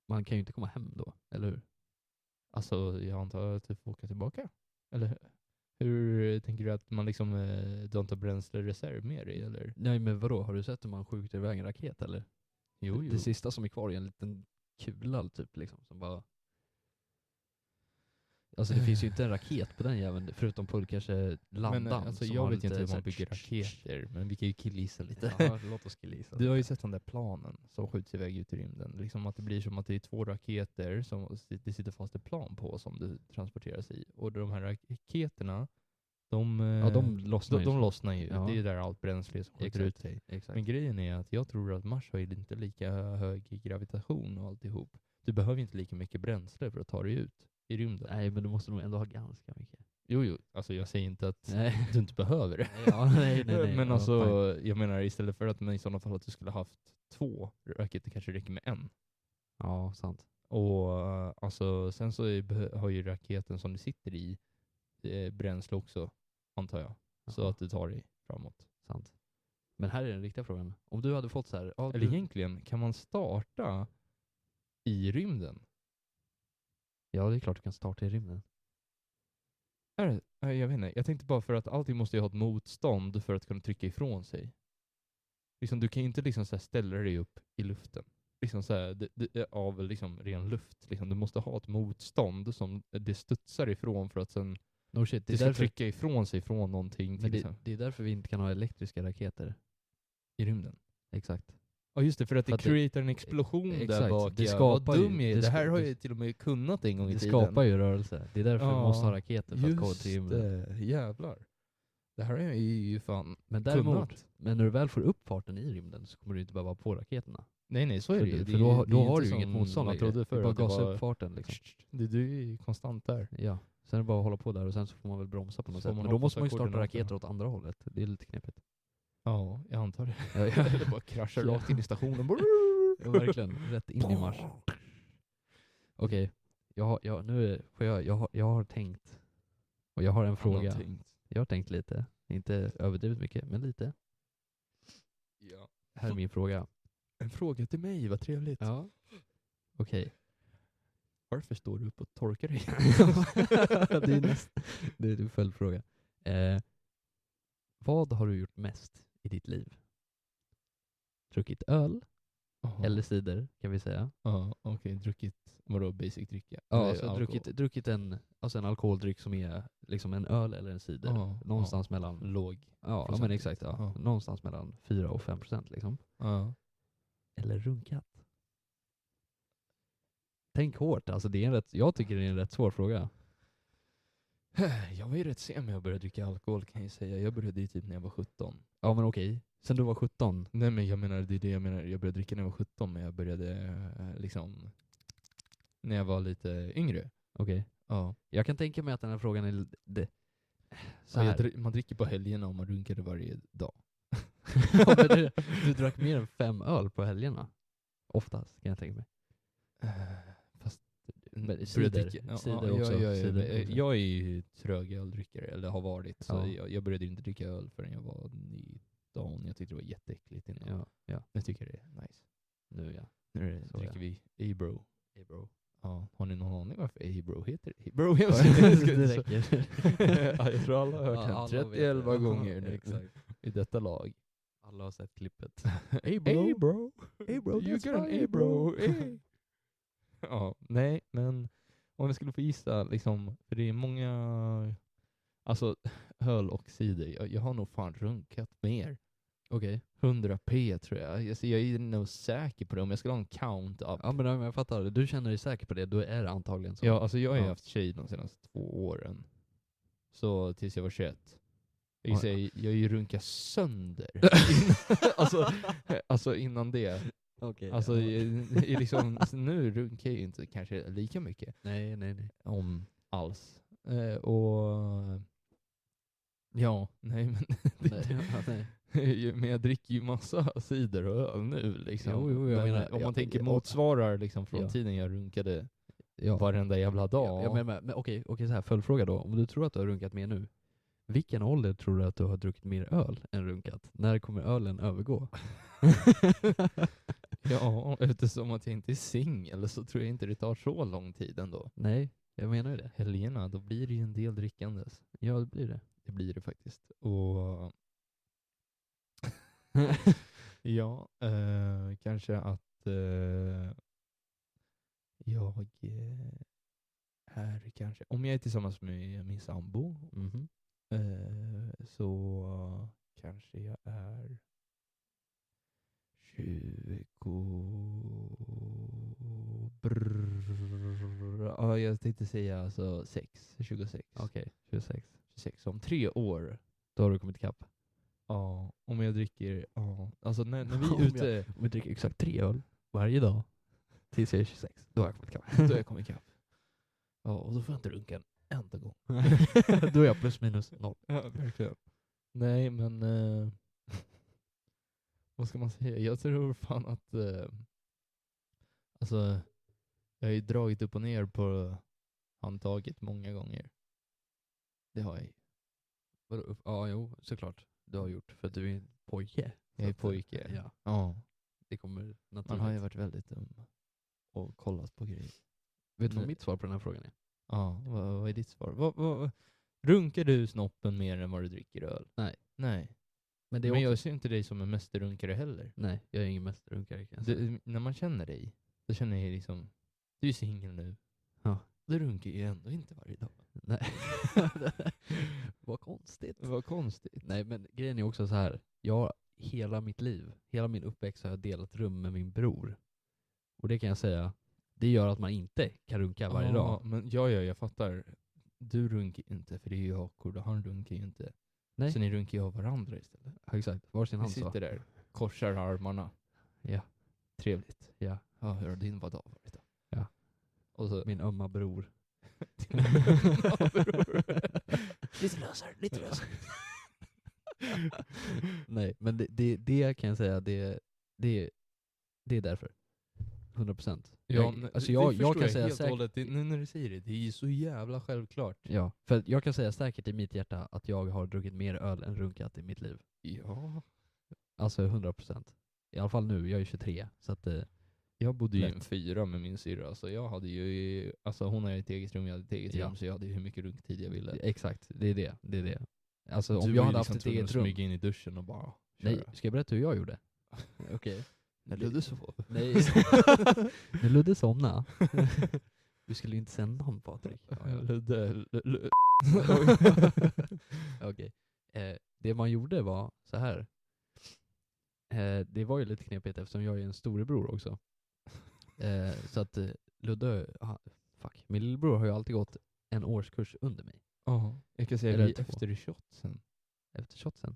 S2: man kan ju inte komma hem då, eller hur?
S1: Alltså, jag antar att du får åka tillbaka. Eller hur tänker du att man liksom, eh, du har inte bränslereserv med dig eller?
S2: Nej men vadå, har du sett hur man skjuter iväg en raket eller?
S1: Jo, jo.
S2: Det sista som är kvar är en liten kula typ liksom, som bara...
S1: <laughs>
S2: Alltså det finns ju inte en raket på den jäveln, förutom på kanske landan.
S1: Men eh, alltså,
S2: som
S1: jag
S2: har
S1: vet ju inte
S2: lite
S1: hur
S2: så
S1: man
S2: här-
S1: bygger raketer, men vi kan ju killgissa lite.
S2: Ja, låt oss killgissa.
S1: <laughs> Du har ju sett de där planen som skjuts iväg ut i rymden. Liksom att det blir som att det är två raketer som si- det sitter fast ett plan på som det transporteras i. Och de här raketerna, de,
S2: Ja
S1: eh,
S2: de lossnar
S1: de,
S2: ju.
S1: de lossnar ju.
S2: Ja.
S1: Det är ju där allt bränsle som skjuter ut sig.
S2: Exakt.
S1: Men grejen är att jag tror att Mars har ju inte lika hög gravitation och alltihop. Du behöver ju inte lika mycket bränsle för att ta dig ut i rymden.
S2: Nej men du måste nog ändå ha ganska mycket.
S1: Jo, jo, alltså jag säger inte att
S2: Nej.
S1: du inte behöver det.
S2: ja, nej, nej,
S1: <laughs>
S2: nej.
S1: Men
S2: Ja,
S1: alltså,
S2: fine.
S1: jag menar istället för att men i sådana fall att du skulle haft två raketer kanske det räcker med en.
S2: <laughs> Ja, sant.
S1: Och eh, alltså, sen så är, beh- har ju raketen som du sitter i eh, bränsle också, antar jag. Så
S2: Ja.
S1: att du tar dig framåt.
S2: Sant. Men här är den riktiga frågan. Om du hade fått så här, ja,
S1: Eller
S2: du,
S1: egentligen, kan man starta i rymden?
S2: ja det är klart du kan starta i rymden.
S1: Är det? Nej, Eh, Jag vet inte. Jag tänkte bara för att allting måste ju ha ett motstånd för att kunna trycka ifrån sig. Liksom, du kan ju inte liksom så här ställa dig upp i luften. Liksom så här, det, det, av liksom ren luft. Liksom, du måste ha ett motstånd som eh, det studsar ifrån för att sen
S2: No shit, det
S1: det
S2: är,
S1: ska
S2: därför,
S1: trycka ifrån sig från någonting
S2: men
S1: till
S2: det,
S1: exempel,
S2: det är därför vi inte kan ha elektriska raketer.
S1: i rymden.
S2: Exakt.
S1: Ja just det, för att
S2: För
S1: det
S2: att det-
S1: creatar en explosion där
S2: exakt,
S1: bak.
S2: det
S1: ja.
S2: skapar
S1: Vad
S2: ju-
S1: dum jag är.
S2: det
S1: Det här
S2: sk-
S1: har
S2: det-
S1: jag ju till och med kunnat en gång i
S2: Det
S1: tiden.
S2: skapar ju rörelse. Det är därför vi måste ha
S1: Ja,
S2: raketer för att komma
S1: Just
S2: till rymden.
S1: det, jävlar. Det här har jag ju fan
S2: Men däremot,
S1: kunnat.
S2: men när du väl får upp farten i rymden så kommer du inte behöva ha på raketerna.
S1: Nej nej, så är
S2: För,
S1: det ju.
S2: du-
S1: Det
S2: för
S1: är ju-
S2: då,
S1: det är
S2: då
S1: ju
S2: har
S1: inte
S2: du ju inget
S1: som
S2: motstånd
S1: Jag
S2: längre.
S1: trodde
S2: Det
S1: förr
S2: är bara
S1: att det
S2: gasa
S1: var... <laughs>
S2: upp farten liksom.
S1: Du, du är ju konstant där.
S2: Ja, sen är det bara att hålla på där och sen så får man väl bromsa på något
S1: Så
S2: sätt.
S1: får man
S2: Men då
S1: hoppas
S2: måste
S1: att
S2: man ju starta
S1: koordinaterna-
S2: raketer åt andra hållet. Det är lite knepigt.
S1: Ja, jag antar det.
S2: Ja, ja.
S1: <laughs> det bara kraschar
S2: Ja.
S1: rakt in i <laughs> stationen.
S2: Ja, verkligen. Rätt in i Mars. Okej, jag, har- jag, nu är- får jag, jag, har- jag har tänkt. Och jag har en fråga.
S1: Någonting.
S2: Jag har tänkt lite. Inte överdrivet mycket, men lite.
S1: Ja.
S2: Här är min fråga.
S1: En fråga till mig, vad trevligt.
S2: Ja. Okej.
S1: <laughs> Varför står du upp och torkar dig?
S2: det är näst, det är en följdfråga. Eh, vad har du gjort mest i ditt liv? Druckit öl,
S1: Jaha.
S2: eller cider kan vi säga.
S1: Ja, okej. Druckit, vadå basic dricka?
S2: Ja,
S1: Eller
S2: alltså
S1: alkohol?
S2: druckit, druckit en, alltså en alkoholdryck som är liksom en öl eller en cider.
S1: Ja,
S2: Någonstans mellan,
S1: Låg.
S2: ja, ja men
S1: procentigt.
S2: exakt, ja.
S1: Ja.
S2: Någonstans mellan 4 och 5 procent liksom.
S1: Ja.
S2: Eller runkat. Tänk hårt, alltså det är en rätt, jag tycker det är en rätt svår fråga.
S1: <sighs> Jag var ju rätt sen när jag började dricka alkohol kan jag ju säga. Jag började ju typ när jag var 17.
S2: Ja men okej, sen du var 17,
S1: Nej men jag menar, det är det jag menar. Jag började dricka när jag var 17 men jag började eh, liksom när jag var lite yngre.
S2: okej.
S1: Ja.
S2: Jag kan tänka mig att den här frågan är... l- Det, så
S1: Men
S2: här.
S1: jag dri- man dricker på helgerna och man runkade varje dag.
S2: <laughs> Ja,
S1: <laughs>
S2: men du, du drack mer än fem öl på helgerna. Oftast, kan jag tänka mig. Eh,
S1: Fast
S2: Men
S1: Började
S2: cider,
S1: Mm, ja,
S2: cider
S1: ja,
S2: också,
S1: Ja, ja, ja,
S2: cider
S1: men,
S2: också.
S1: eh, jag är ju trög öldrickare, eller har varit. Så
S2: Ja.
S1: jag, jag började inte dricka öl förrän jag var 19. Jag tyckte det var jätteäckligt innan.
S2: Ja, ja.
S1: Jag tycker det är nice.
S2: Nu
S1: <laughs>
S2: ja.
S1: Nu är det,
S2: Så,
S1: dricker
S2: ja.
S1: vi Abro.
S2: Hey bro.
S1: Ja, har ni någon aning varför Abro heter Abro? <laughs> Jag
S2: <laughs> det räcker.
S1: <laughs>
S2: <laughs>
S1: ja, jag tror alla har hört
S2: alla
S1: den
S2: vet
S1: 30 11
S2: det.
S1: gånger
S2: <laughs>
S1: nu
S2: Exakt.
S1: i detta lag.
S2: Alla har sett
S1: <laughs>
S2: klippet.
S1: Abro, Abro,
S2: Abro,
S1: you
S2: that's
S1: got an
S2: my
S1: Abro.
S2: Abro.
S1: Hey. <laughs> ja, nej, men om jag skulle få gissa, liksom, för det är många, alltså <laughs> öl och cider, jag, jag har nog fan runkat mer.
S2: Okej.
S1: 100 p tror jag. Alltså, jag är nog säker på det, om jag skulle ha en count up.
S2: Ja men ja, men jag fattar, du känner dig säker på det, då är det antagligen så. <laughs>
S1: Ja, alltså jag har ju
S2: Ja.
S1: haft tjej de senaste två åren. Så tills jag var 21.
S2: Oj.
S1: Jag, säger, jag har ju runkat sönder.
S2: <laughs>
S1: alltså, alltså innan det.
S2: Okej,
S1: Alltså
S2: ja.
S1: i, i liksom, nu runkar jag ju inte kanske lika mycket.
S2: Nej,
S1: <laughs>
S2: nej, nej.
S1: Om alls. Eh, och... Ja, nej men, <laughs>
S2: nej,
S1: typ-
S2: <laughs> ja, nej.
S1: men jag dricker ju massa cider och öl nu liksom.
S2: Jo, jo, jag
S1: men,
S2: menar-
S1: eh, om man
S2: ja,
S1: tänker
S2: ja.
S1: motsvarar liksom från
S2: Ja.
S1: tiden jag runkade
S2: Ja.
S1: varenda jävla dag.
S2: Ja, jag menar, men, okej, okej så här, följdfråga då. Om du tror att du har runkat mer nu, vilken ålder tror du att du har druckit mer öl än runkat? När kommer
S1: <laughs>
S2: ölen övergå?
S1: Ja, eftersom att jag inte är singel så tror jag inte det tar så lång tid ändå.
S2: Nej, jag menar ju det.
S1: Helgerna, då blir det ju en del drickandes.
S2: Ja, det blir det.
S1: Det blir det faktiskt. Och <laughs> ja, eh, kanske att eh, jag eh, är kanske, om jag är tillsammans med min sambo
S2: Mhm.
S1: eh, så kanske jag är 20... Brrr. Ja, jag tänkte säga alltså 6, 26.
S2: Okej, 26.
S1: 26 om tre år.
S2: Då har du kommit ikapp.
S1: Ja, om jag dricker, ja. Alltså när, när vi <laughs>
S2: Om
S1: är
S2: jag-
S1: ute,
S2: Om vi dricker exakt tre öl varje dag tills jag
S1: <laughs>
S2: är 26, då har jag kommit ikapp. <laughs>
S1: då har jag kommit ikapp. Ja, och då får jag inte runka en enda gång.
S2: <laughs> då är jag plus minus noll.
S1: Ja, verkligen. Nej, men... Eh, <laughs> vad ska man säga? Jag tror fan att... Eh, alltså, jag har ju dragit upp och ner på handtaget många gånger. Det har jag ju.
S2: Vadå? Ja, jo, såklart. Du har gjort, för att du är en pojke.
S1: Jag är
S2: Så att,
S1: pojke.
S2: Ja,
S1: eh, Ja,
S2: det kommer naturligt.
S1: man har ju varit väldigt dum och kollat på grejer.
S2: Vet du vad mitt svar på den här frågan är?
S1: Ja, vad, vad är ditt svar? Vad, vad, Runkar du snoppen mer än vad du dricker öl?
S2: Nej.
S1: Nej.
S2: Men det är
S1: Men
S2: också...
S1: jag ser inte dig som en mästerrunkare heller.
S2: Nej, jag är ingen mästerrunkare kan jag säga.
S1: Det, när man känner dig, då känner jag liksom, du är singel nu.
S2: Ja.
S1: Du runkar ju ändå inte varje dag.
S2: Nej.
S1: <laughs>
S2: Vad konstigt.
S1: Vad konstigt.
S2: Nej men grejen är också så här. jag hela mitt liv, hela min uppväxt har jag delat rum med min bror. Och det kan jag säga, det gör att man inte kan runka varje
S1: Ja,
S2: dag.
S1: Men ja, ja, jag fattar. Du runkar ju inte, för det är ju hakor och han runkar ju inte.
S2: Nej.
S1: Så ni runkar ju av varandra istället.
S2: Ja, exakt, varsin
S1: Ni
S2: hand så.
S1: sitter där, korsar armarna.
S2: Ja.
S1: Trevligt.
S2: Ja,
S1: Ja, hur har din dag varit då?
S2: Ja.
S1: Och så...
S2: min
S1: <laughs>
S2: ömma bror.
S1: lite lösare, lite <laughs> lösare.
S2: Nej, men det, det, det kan jag säga, det, det, det är därför. 100 procent.
S1: Ja, men
S2: alltså
S1: det-
S2: jag,
S1: det
S2: jag
S1: förstår
S2: kan säga
S1: helt och
S2: säkert,
S1: hållet. Det, nu när du säger det, det är ju så jävla självklart.
S2: Ja, för att jag kan säga säkert i mitt hjärta att jag har druckit mer öl än runkat i mitt liv.
S1: Ja.
S2: Alltså 100 procent. I alla fall nu, jag är 23. Så att, eh,
S1: Jag bodde ju i
S2: Lätt.
S1: en fyra med min syrra, så jag hade ju, alltså hon hade ett eget rum, jag hade ett eget
S2: Ja.
S1: rum, så jag hade ju hur mycket runktid jag ville.
S2: exakt, det är det. det, är det. Alltså
S1: Du
S2: om
S1: var
S2: jag
S1: ju
S2: hade
S1: liksom
S2: haft ett
S1: tvungen
S2: eget
S1: att
S2: rum.
S1: smyga in i duschen och bara
S2: Nej,
S1: köra.
S2: ska jag berätta hur jag gjorde? Okej.
S1: När Ludde sov.
S2: Nej. <laughs> När Ludde somnade. du skulle ju inte säga namn Patrik.
S1: <laughs> Ludde, L- L-
S2: Okej. Eh, det man gjorde var så här. Eh, det var ju lite knepigt eftersom jag är en storebror också. Eh, så att eh, Ludde, ah, fuck, min lillebror har ju alltid gått en årskurs under mig.
S1: Ja, jag kan säga
S2: Eller
S1: vi är
S2: två.
S1: efter i shotsen.
S2: Efter shotsen.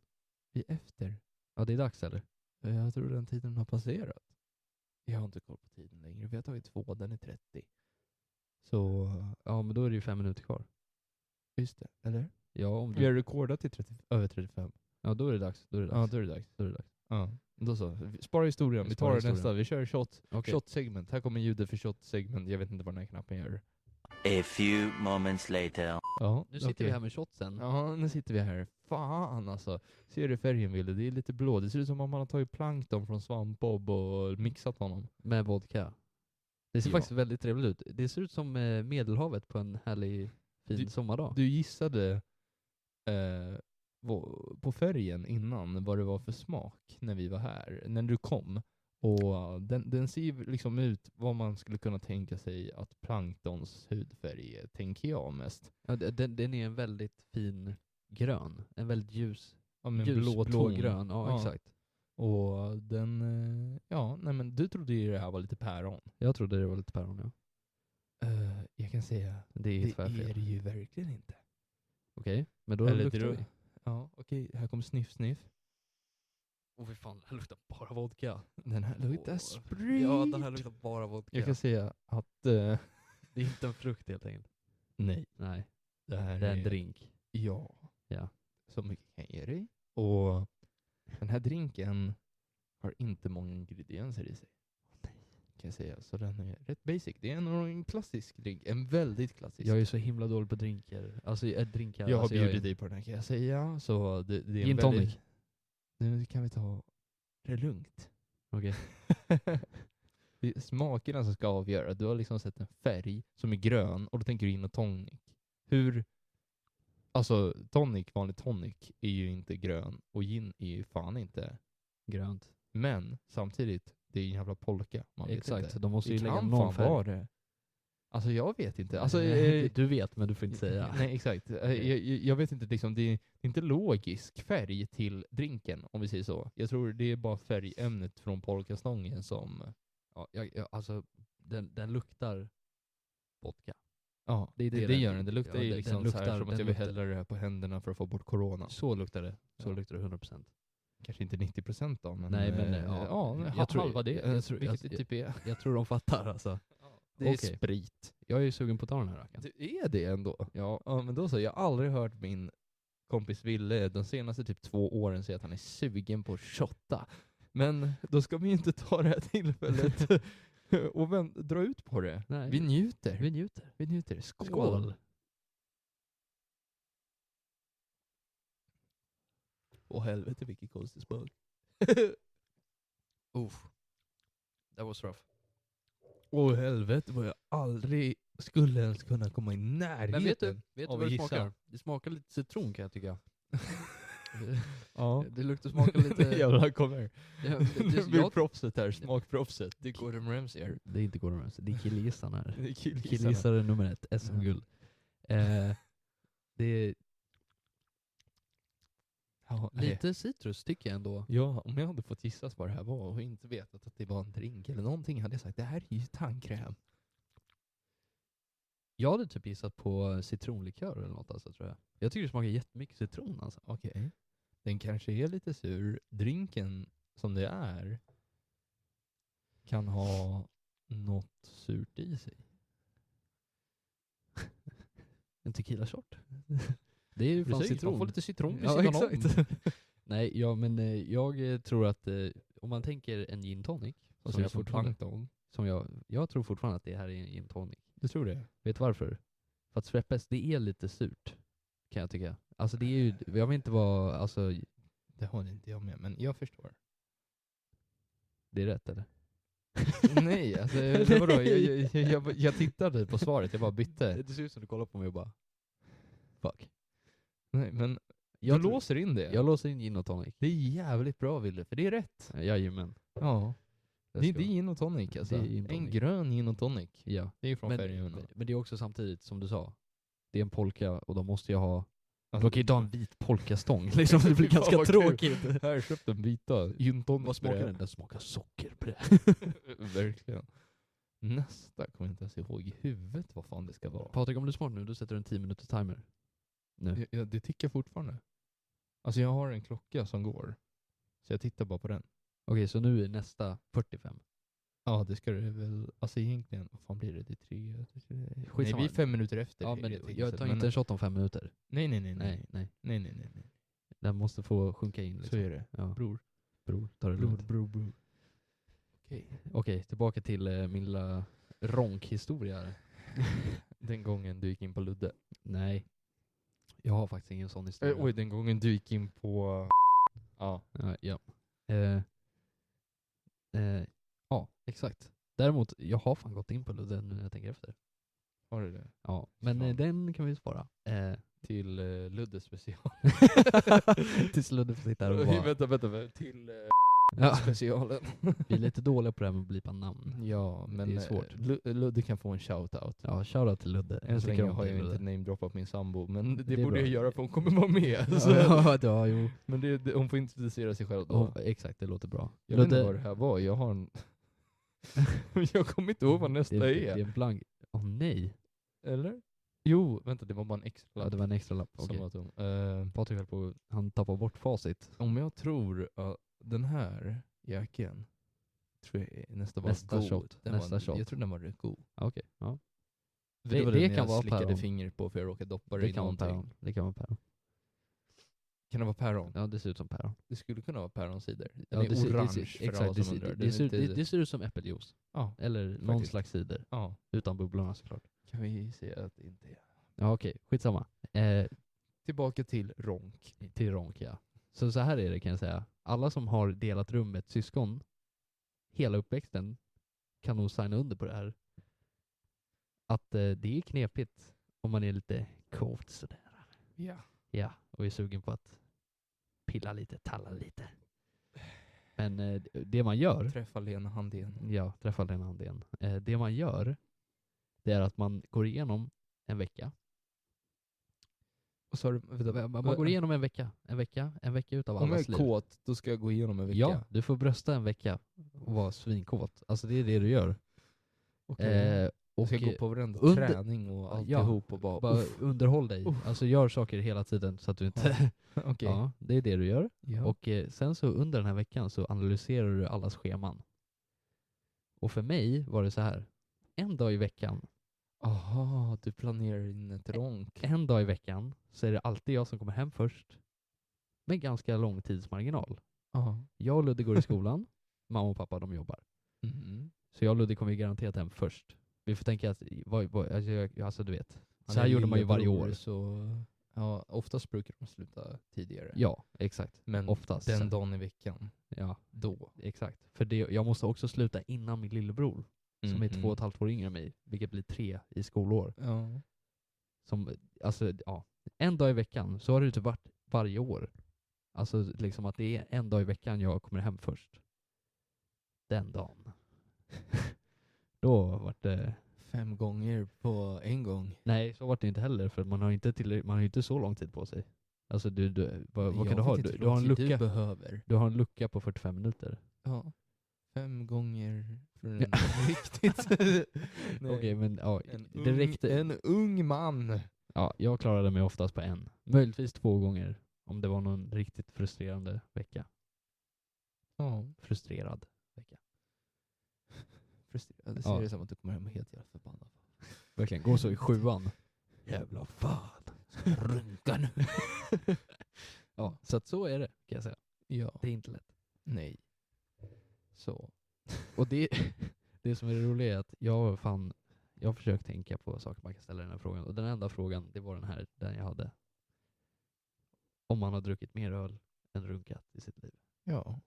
S1: Vi är efter.
S2: Ja, det är dags eller?
S1: Jag tror den tiden har passerat. Jag har inte koll på tiden längre. Vi har tagit två, den är 30. Så,
S2: Ja, men då är det ju fem minuter kvar.
S1: just det. Eller?
S2: Ja, om
S1: Vi har
S2: du,
S1: rekordat till 30, över 35.
S2: ja då är det dags. Då är det dags.
S1: Ja, då är det dags.
S2: Då är det dags.
S1: Ja. Då så. Vi- Spara historien. Vi
S2: Spara
S1: tar det
S2: historien.
S1: nästa. Vi kör shot.
S2: Okej.
S1: Shot-segment. Här kommer ljudet för shot-segment. Jag vet inte vad den här knappen gör.
S3: A few moments later.
S1: Ja,
S2: Nu sitter
S1: okej.
S2: vi här med shotsen.
S1: Ja, nu sitter vi här. Fan alltså. Ser du färgen Wille? Det är lite blå. Det ser ut som om man har tagit plankton från svampbob och mixat honom.
S2: Med vodka. Det ser
S1: Ja.
S2: faktiskt väldigt trevligt ut. Det ser ut som eh, Medelhavet på en härlig fin
S1: Du-
S2: sommardag.
S1: Du gissade eh, vå- på färgen innan vad det var för smak när vi var här, när du kom. Och eh, den, den ser ju liksom ut vad man skulle kunna tänka sig att planktons hudfärg är, tänker jag mest.
S2: Ja, d- den, den är en väldigt fin grön. En väldigt ljus,
S1: Ja, men
S2: ljus blå,
S1: ton.
S2: grön. Ja,
S1: Ja.
S2: exakt.
S1: Och den, eh, ja, nej men du trodde ju det här var lite päron.
S2: Jag trodde det var lite päron ja.
S1: Eh, jag kan säga
S2: Det är
S1: Det
S2: tvärfel.
S1: är det
S2: Okej,
S1: ju verkligen inte.
S2: men då
S1: Eller
S2: luktar
S1: dro-
S2: vi.
S1: Ja, okej. Här kommer sniff, sniff.
S2: Åh fy fan, den här luktar bara vodka.
S1: Den här luktar
S2: Åh.
S1: sprit.
S2: Ja, den här luktar bara vodka.
S1: Jag kan säga att... eh,
S2: Det är inte en frukt helt enkelt.
S1: nej.
S2: Nej,
S1: Det här
S2: det är en drink.
S1: Ja.
S2: Ja.
S1: Så mycket kan jag ge dig. Och den här drinken har inte många ingredienser i sig. Kan jag säga. Så den är rätt basic. Det är en, en klassisk drink. En väldigt klassisk.
S2: Jag är så himla dålig på drinker. Alltså jag- drinkar.
S1: Jag har
S2: alltså,
S1: bjudit
S2: är-
S1: dig på den här kan jag säga. Så det, det är en
S2: Gin tonic.
S1: väldigt- Nu kan vi ta det
S2: <laughs>
S1: lugnt.
S2: Okej.
S1: det är smakerna som ska avgöra. Du har liksom sett en färg som är grön och då tänker du in och tonic. Hur... Alltså tonic, vanlig tonic, är ju inte grön och gin är ju fan inte.
S2: Grönt.
S1: Men samtidigt, det är en jävla polka. Man vet
S2: Exakt,
S1: inte.
S2: de måste ju
S1: Det
S2: lägga
S1: kan
S2: någon
S1: fan
S2: färg. <laughs>
S1: vara det. Alltså jag vet inte. Alltså, eh,
S2: du vet men du får inte säga.
S1: Nej, exakt. Eh,
S2: Okej.
S1: Jag, jag- jag vet inte, liksom, det är inte logisk färg till drinken, om vi säger så. Jag tror det är bara färgämnet från polkastången som...
S2: Ja, jag, jag, alltså den, den luktar vodka.
S1: Ja,
S2: det är det
S1: det,
S2: den-
S1: gör den. Det luktar
S2: ja,
S1: ju
S2: den-
S1: liksom
S2: den
S1: så
S2: luktar-
S1: här som att
S2: den
S1: jag vill
S2: luktar-
S1: hälla det här på händerna för att få bort corona.
S2: Så luktar det. Så
S1: Ja.
S2: luktar det 100%.
S1: Kanske inte 90% då, men...
S2: Nej, men,
S1: eh,
S2: ja,
S1: ja,
S2: jag
S1: ha-
S2: tror-
S1: halva det.
S2: jag- jag tror-
S1: vilket
S2: jag-
S1: det typ är.
S2: Jag tror de fattar alltså.
S1: Det är
S2: Okej.
S1: sprit.
S2: Jag är ju sugen på att ta den här rackaren.
S1: Du är det ändå? Ja. ja, men då så. Jag har aldrig hört min kompis Ville de senaste typ två åren säga att han är sugen på att shotta. Men då ska vi ju inte ta det här tillfället
S2: <laughs>
S1: och vänt, dra ut på det.
S2: Nej,
S1: Vi njuter.
S2: vi
S1: Vi,
S2: njuter.
S1: njuter. Skål! Åh helvete vilken konstig smak.
S2: Uff. That was rough.
S1: Åh helvete vad jag aldrig skulle ens kunna komma i närheten.
S2: Men vet du, vet du
S1: om
S2: vad det
S1: gissar.
S2: smakar? Det smakar lite citron kan jag tycka.
S1: Ja.
S2: Det luktar smakar <laughs> lite...
S1: <laughs> Jävlar, kom här.
S2: Ja,
S1: Nu <laughs>
S2: <laughs> det, det,
S1: blir
S2: jag,
S1: proffset här, smakproffset.
S2: det är Gordon Ramsay här.
S1: här.
S2: Det är inte Gordon Ramsay, det är killgissarna
S1: <laughs>
S2: här.
S1: Killgissarna.
S2: Killgissare nummer ett, SM-guld. Eh, det är
S1: Ja, nej.
S2: lite citrus tycker jag ändå.
S1: Ja, om jag hade fått gissas vad det här var och inte vetat att det var en drink eller någonting hade jag sagt det här är ju tandkräm.
S2: Jag hade typ gissat på citronlikör eller något alltså tror jag. Jag tycker det smakar jättemycket citron alltså.
S1: Okej. Den kanske är lite sur. Drinken som det är kan ha något surt i sig.
S2: <laughs> En tequila
S1: <laughs>
S2: shot. det är ju fan
S1: Precis,
S2: citron.
S1: Man får lite citron vid
S2: Ja,
S1: sidan om.
S2: exakt. <laughs> Nej, ja, men eh, jag eh, tror att eh, om man tänker en gin tonic,
S1: Och så
S2: som,
S1: är det
S2: jag fortfarande,
S1: plankton.
S2: som jag, jag tror fortfarande att det här är en gin tonic.
S1: Du tror det?
S2: Vet du varför? För att Sweppes, det är lite surt, kan jag tycka. Alltså det är ju, jag vill inte vara, alltså,
S1: Det håller inte jag med, men jag förstår.
S2: det är rätt eller?
S1: <laughs> <laughs> Nej,
S2: <laughs>
S1: alltså, det var då, jag, jag, jag, jag tittade på svaret, jag bara bytte.
S2: Det ser ut som du kollar på mig och bara, fuck.
S1: Nej, men
S2: Jag
S1: jag
S2: tror-
S1: låser in det.
S2: Jag låser in gin och tonic.
S1: Det är jävligt bra Wille, för det är rätt.
S2: Jajamän.
S1: Ja.
S2: Jag
S1: Det,
S2: ska-
S1: det är gin och tonic alltså.
S2: Det är gin och
S1: En
S2: tonic.
S1: grön gin och tonic.
S2: Ja.
S1: Det är ju från
S2: Men,
S1: Färjöarna.
S2: men det är också samtidigt, som du sa, det är en polka och de måste ju ha,
S1: Alltså-
S2: de kan ju inte ha en
S1: <laughs>
S2: vit polkastång liksom, det blir ganska tråkigt.
S1: Här, köp den vita. Gin tonic.
S2: Vad smakar
S1: bröd.
S2: den? Den
S1: <laughs>
S2: smakar sockerbröd.
S1: Verkligen. Nästa kommer jag inte ens ihåg i huvudet vad fan det ska vara.
S2: Patrik, om du är smart nu, då sätter du en 10 minuters timer.
S1: Jag, jag, det tickar fortfarande. Alltså jag har en klocka som går. Så jag tittar bara på den.
S2: Okej, så nu är nästa 45.
S1: Ja det ska det väl, alltså egentligen, vad fan blir det? Det är tre, Nej
S2: Skitsamma.
S1: vi är fem minuter efter.
S2: Ja,
S1: det,
S2: men
S1: tänkte
S2: jag
S1: så,
S2: tar
S1: men-
S2: inte en shot om fem minuter.
S1: Nej nej nej nej.
S2: Nej, nej.
S1: Nej nej nej. nej.
S2: Den måste få sjunka in.
S1: Så
S2: Liksom.
S1: är det.
S2: Ja.
S1: Bror.
S2: Bror, ta det
S1: Bror
S2: lugnt.
S1: bror bror. Okej.
S2: Okej, tillbaka till eh, min lilla ronkhistoria. här.
S1: Den gången du gick in på Ludde.
S2: Nej. Jag har faktiskt ingen sån historia.
S1: Eh, oj, den gången du gick in på... Ja.
S2: Ja, ja. Eh, eh, ja, exakt. Däremot, jag har fan gått in på den nu när jag tänker efter.
S1: Har du det?
S2: Ja, men eh,
S1: Fan.
S2: den kan vi spara. Eh,
S1: Till eh, Ludde <laughs> special.
S2: tills Ludde får sitta
S1: <laughs>
S2: här och
S1: Oj,
S2: bara...
S1: vänta, vänta, vänta. Till eh,
S2: Ja,
S1: specialen.
S2: vi är lite dåliga på det här med att blipa namn.
S1: <laughs> ja, men
S2: Det är
S1: eh,
S2: svårt.
S1: Lu- Ludde kan få en shoutout.
S2: Ja, shoutout till Ludde.
S1: Än så
S2: tycker
S1: länge
S2: om
S1: har
S2: dig,
S1: jag inte
S2: Ludde.
S1: namedroppat min sambo, men det,
S2: Det är
S1: borde
S2: bra.
S1: jag göra för hon kommer vara <laughs> med. så.
S2: <laughs> Ja, ja, ja, jo.
S1: Men det, det, hon får introducera sig själv då.
S2: Ja, exakt, det låter bra.
S1: jag vet inte vad det här var, jag har <laughs> en... jag kommer inte ihåg vad nästa
S2: det,
S1: är.
S2: Det är en blank... Åh nej!
S1: Eller? Jo, vänta, det var bara en extra
S2: Ja,
S1: lapp
S2: det var en extra lapp.
S1: som
S2: Okej.
S1: var tom. Eh,
S2: Patrik höll på han tappar bort facit.
S1: Om jag tror att den här jäkeln tror jag är- nästa var
S2: Nästa
S1: god.
S2: shot,
S1: Den
S2: nästa
S1: var,
S2: shot.
S1: Jag tror den var rätt god.
S2: Ja, Okej, ja.
S1: För
S2: Det-
S1: var
S2: det
S1: den
S2: kan
S1: jag
S2: vara
S1: slickade
S2: päron.
S1: fingret på för jag råkade doppa det
S2: Det
S1: i
S2: kan vara
S1: någonting.
S2: päron. Det kan vara päron.
S1: Kan det vara päron?
S2: Ja, det ser ut som päron.
S1: Det skulle kunna vara päronsider. Den
S2: Ja,
S1: är
S2: det ser-
S1: orange
S2: det ser,
S1: för alla
S2: exakt, det,
S1: som
S2: ser-
S1: undrar.
S2: det,
S1: Den är
S2: det, ser,
S1: inte-
S2: det, det ser ut som äppeljuice.
S1: ja,
S2: Eller någon
S1: Faktiskt.
S2: slags cider.
S1: ja,
S2: Utan bubblorna såklart.
S1: kan vi säga att det inte är.
S2: Ja, okej. Skitsamma. Eh,
S1: Tillbaka till ronk.
S2: till Ronk, ja. Så, så här är det kan jag säga. Alla som har delat rum med ett syskon hela uppväxten kan nog signa under på det här. Att eh, det är knepigt om man är lite kåt sådär.
S1: Ja.
S2: Ja, och är sugen på att pilla lite, talla lite. Men eh, det man gör
S1: Träffa Lena Handén.
S2: Ja, träffade den handen. Eh, det man gör, det är att man går igenom en vecka.
S1: Och så har du, vänta,
S2: Man man går igenom en vecka, en vecka, en vecka utav
S1: Om jag
S2: allas
S1: är
S2: liv.
S1: kåt, då ska jag gå igenom en vecka.
S2: Ja, du får brösta en vecka och vara svinkåt. Alltså det är det du gör.
S1: Okej.
S2: Eh,
S1: jag
S2: och
S1: ska gå
S2: eh,
S1: på varenda
S2: under-
S1: träning och
S2: Ja,
S1: alltihop och bara,
S2: bara
S1: uff.
S2: <laughs> underhåll dig.
S1: Uff.
S2: Alltså gör saker hela tiden så att du inte...
S1: Okej.
S2: ja, det är det du gör.
S1: Ja.
S2: Och eh, sen så under den här veckan så analyserar du allas scheman. Och för mig var det så här. En dag i veckan
S1: Aha, du planerar in ett ronk.
S2: en dag i veckan så är det alltid jag som kommer hem först med ganska lång tidsmarginal.
S1: Ja.
S2: Jag och Ludde går
S1: <laughs>
S2: i skolan, mamma och pappa de jobbar.
S1: Mm.
S2: Så jag och Ludde kommer ju garanterat hem först. Vi får tänka att, vad, vad, alltså, jag, alltså du vet, så här gjorde man ju varje år.
S1: Så, ja, oftast brukar de sluta tidigare.
S2: Ja, exakt.
S1: Men
S2: Oftast.
S1: den dagen i veckan,
S2: Ja,
S1: Mm. då.
S2: exakt. För det, jag måste också sluta innan min lillebror. som är
S1: Mm,
S2: två och
S1: mm.
S2: ett halvt år yngre än mig, vilket blir tre i skolår.
S1: Ja.
S2: Som, alltså, ja, en dag i veckan, så har det typ varit varje år. Alltså liksom att det är en dag i veckan jag kommer hem först. Den dagen. <laughs> Då vart det...
S1: Fem gånger på en gång.
S2: Nej, så vart det inte heller för man har inte, tillräck- man har ju inte så lång tid på sig. Alltså du, du vad,
S1: Jag
S2: vad kan du
S1: vet
S2: ha?
S1: inte
S2: Du,
S1: hur
S2: du,
S1: lång
S2: har en
S1: tid Du
S2: lucka,
S1: behöver.
S2: du har en lucka på 45 minuter.
S1: Ja. Fem gånger för en
S2: Ja.
S1: riktigt... Nej.
S2: <laughs> Okej, men ja,
S1: En
S2: det
S1: ung-
S2: räckte.
S1: En ung man.
S2: Ja, jag klarade mig oftast på en. Möjligtvis två gånger om det var någon riktigt frustrerande vecka.
S1: Ja.
S2: Frustrerad.
S1: Frustrerad. Det
S2: Ja.
S1: ser det som att du kommer hem helt jävla förbannad.
S2: Verkligen, gå så i sjuan.
S1: Jävla fan. Ska jag runka nu? <laughs>
S2: Ja, så att så är det kan jag säga.
S1: ja.
S2: Det är inte lätt.
S1: Nej. Så.
S2: Och det, det som är det roliga är att jag fan, jag har försökt tänka på saker man kan ställa i den här frågan. Och den enda frågan, det var den här, den jag hade. Om man har druckit mer öl än runkat i sitt liv.
S1: Ja.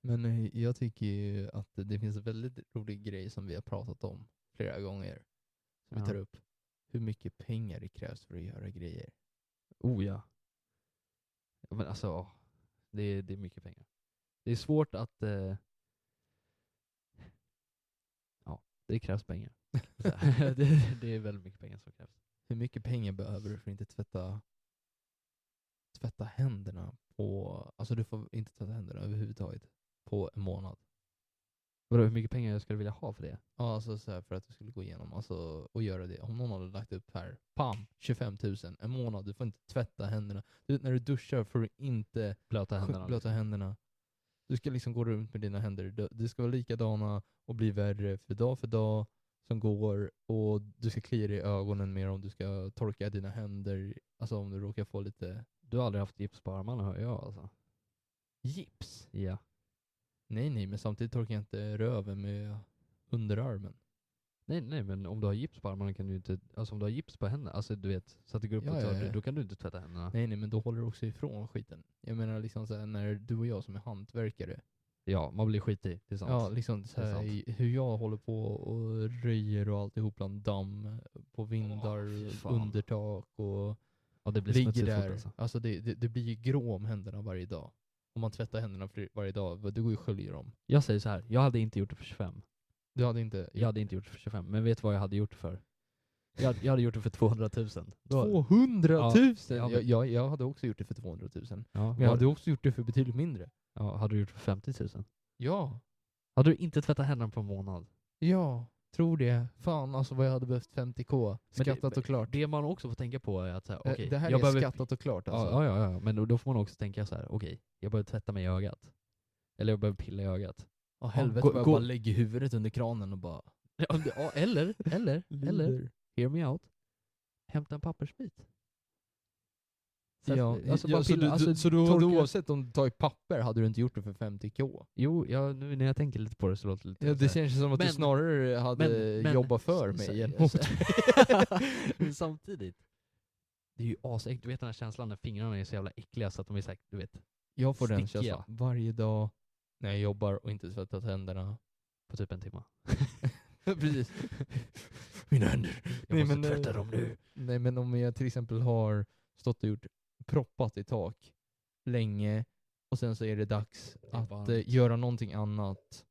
S1: Men eh, jag tycker ju att det finns en väldigt rolig grej som vi har pratat om flera gånger. Som
S2: Ja.
S1: vi tar upp. Hur mycket pengar det krävs för att göra grejer.
S2: Oh ja. Ja, Men alltså, ja. det är, det är mycket pengar. Det är svårt att... Eh... Ja, det krävs
S1: <laughs>
S2: pengar. Så här, <laughs> det, det är väldigt mycket pengar som krävs.
S1: Hur mycket pengar behöver du för att inte tvätta tvätta händerna på, alltså du får inte tvätta händerna överhuvudtaget på en månad.
S2: Vadå, hur mycket pengar jag skulle vilja ha för det?
S1: Ja, alltså så här för att du skulle gå igenom alltså, och göra det. Om någon hade lagt upp här, pam, 25 000, en månad, du får inte tvätta händerna. Du, vet, när du duschar får du inte
S2: Blöta händerna.
S1: blöta händerna. Du ska liksom gå runt med dina händer. Du- Det ska vara likadana och bli värre för dag för dag som går och du ska klia dig i ögonen mer om du ska torka dina händer, alltså om du råkar få lite
S2: Du har aldrig haft gips på armarna hör jag alltså.
S1: gips.
S2: Ja.
S1: Nej, nej, men samtidigt torkar jag inte röven med underarmen.
S2: Nej, nej, men om du har gips på armarna kan du ju inte... Alltså om du har gips på händerna, alltså du vet, så att det går upp
S1: Ja,
S2: och
S1: ja,
S2: tar,
S1: ja.
S2: då kan du inte tvätta händerna.
S1: Nej, nej, men då håller du också ifrån skiten. Jag menar liksom så här, när du och jag som är hantverkare,
S2: Ja, man blir skitig. Det är sant.
S1: ja, liksom så
S2: Det är
S1: här,
S2: sant.
S1: i- hur jag håller på och röjer och alltihop bland damm på vindar,
S2: fy fan.
S1: undertak och
S2: Ja, det blir
S1: ligger
S2: smutsigt
S1: där.
S2: fort alltså.
S1: Alltså det, det, det blir ju grå om händerna varje dag. Om man tvättar händerna fri- varje dag, du går ju och sköljer dem.
S2: Jag säger så här, jag hade inte gjort det för 25.
S1: Du hade inte...
S2: Jag hade inte gjort det för 25, men vet du vad jag hade gjort det för? Jag, jag hade gjort det för 200 000. Då-
S1: 200 000!
S2: Ja, men-
S1: jag, jag, jag hade också gjort det för 200 000. Men
S2: Ja,
S1: jag
S2: var-
S1: hade också gjort det för betydligt mindre.
S2: ja, hade du gjort det för 50 000?
S1: Ja,
S2: Hade du inte tvättat händerna på en månad?
S1: ja, tror det. Fan alltså vad jag hade behövt 50k.
S2: Men det-
S1: Skattat och klart.
S2: Det man också får tänka på är att så här,
S1: Eh,
S2: okej,
S1: det här
S2: jag
S1: är
S2: behöver...
S1: skattat och klart alltså.
S2: ja, ja, ja, ja, men då, då får man också tänka så här, okej, jag behöver tvätta mig i ögat. Eller jag behöver pilla i ögat.
S1: Åh, helvete
S2: Gå-
S1: vad jag
S2: gå-
S1: bara lägger huvudet under kranen och bara...
S2: Ja, det- ja, eller, eller, eller, hear me out. Hämta en pappersbit. Så att-
S1: Ja,
S2: alltså,
S1: ja,
S2: bara
S1: så
S2: pilla,
S1: du,
S2: alltså,
S1: du, så du,
S2: torka-
S1: oavsett om du tar i papper hade du inte gjort det för 50k?
S2: Jo, ja, nu när jag tänker lite på det så låter det lite
S1: Ja,
S2: så
S1: det
S2: här-
S1: känns som att du
S2: Men-
S1: snarare hade
S2: men- men-
S1: jobbat för
S2: s- s-
S1: mig än mot
S2: s- <laughs> Men samtidigt, det är ju asäckligt. Du vet den här känslan när fingrarna är så jävla äckliga så att de är säkert, du vet,
S1: <laughs> Jag får den
S2: Stickiga.
S1: känslan varje dag när jag jobbar och inte tvättat händerna.
S2: <laughs> på typ en timme.
S1: <laughs> Precis.
S2: Mina händer, jag
S1: Nej,
S2: måste
S1: men, eh,
S2: tvätta dem nu.
S1: <laughs> Nej men om jag till exempel har stått och gjort proppat i tak länge och sen så är det dags
S2: Det är
S1: att
S2: varmt.
S1: eh, göra någonting annat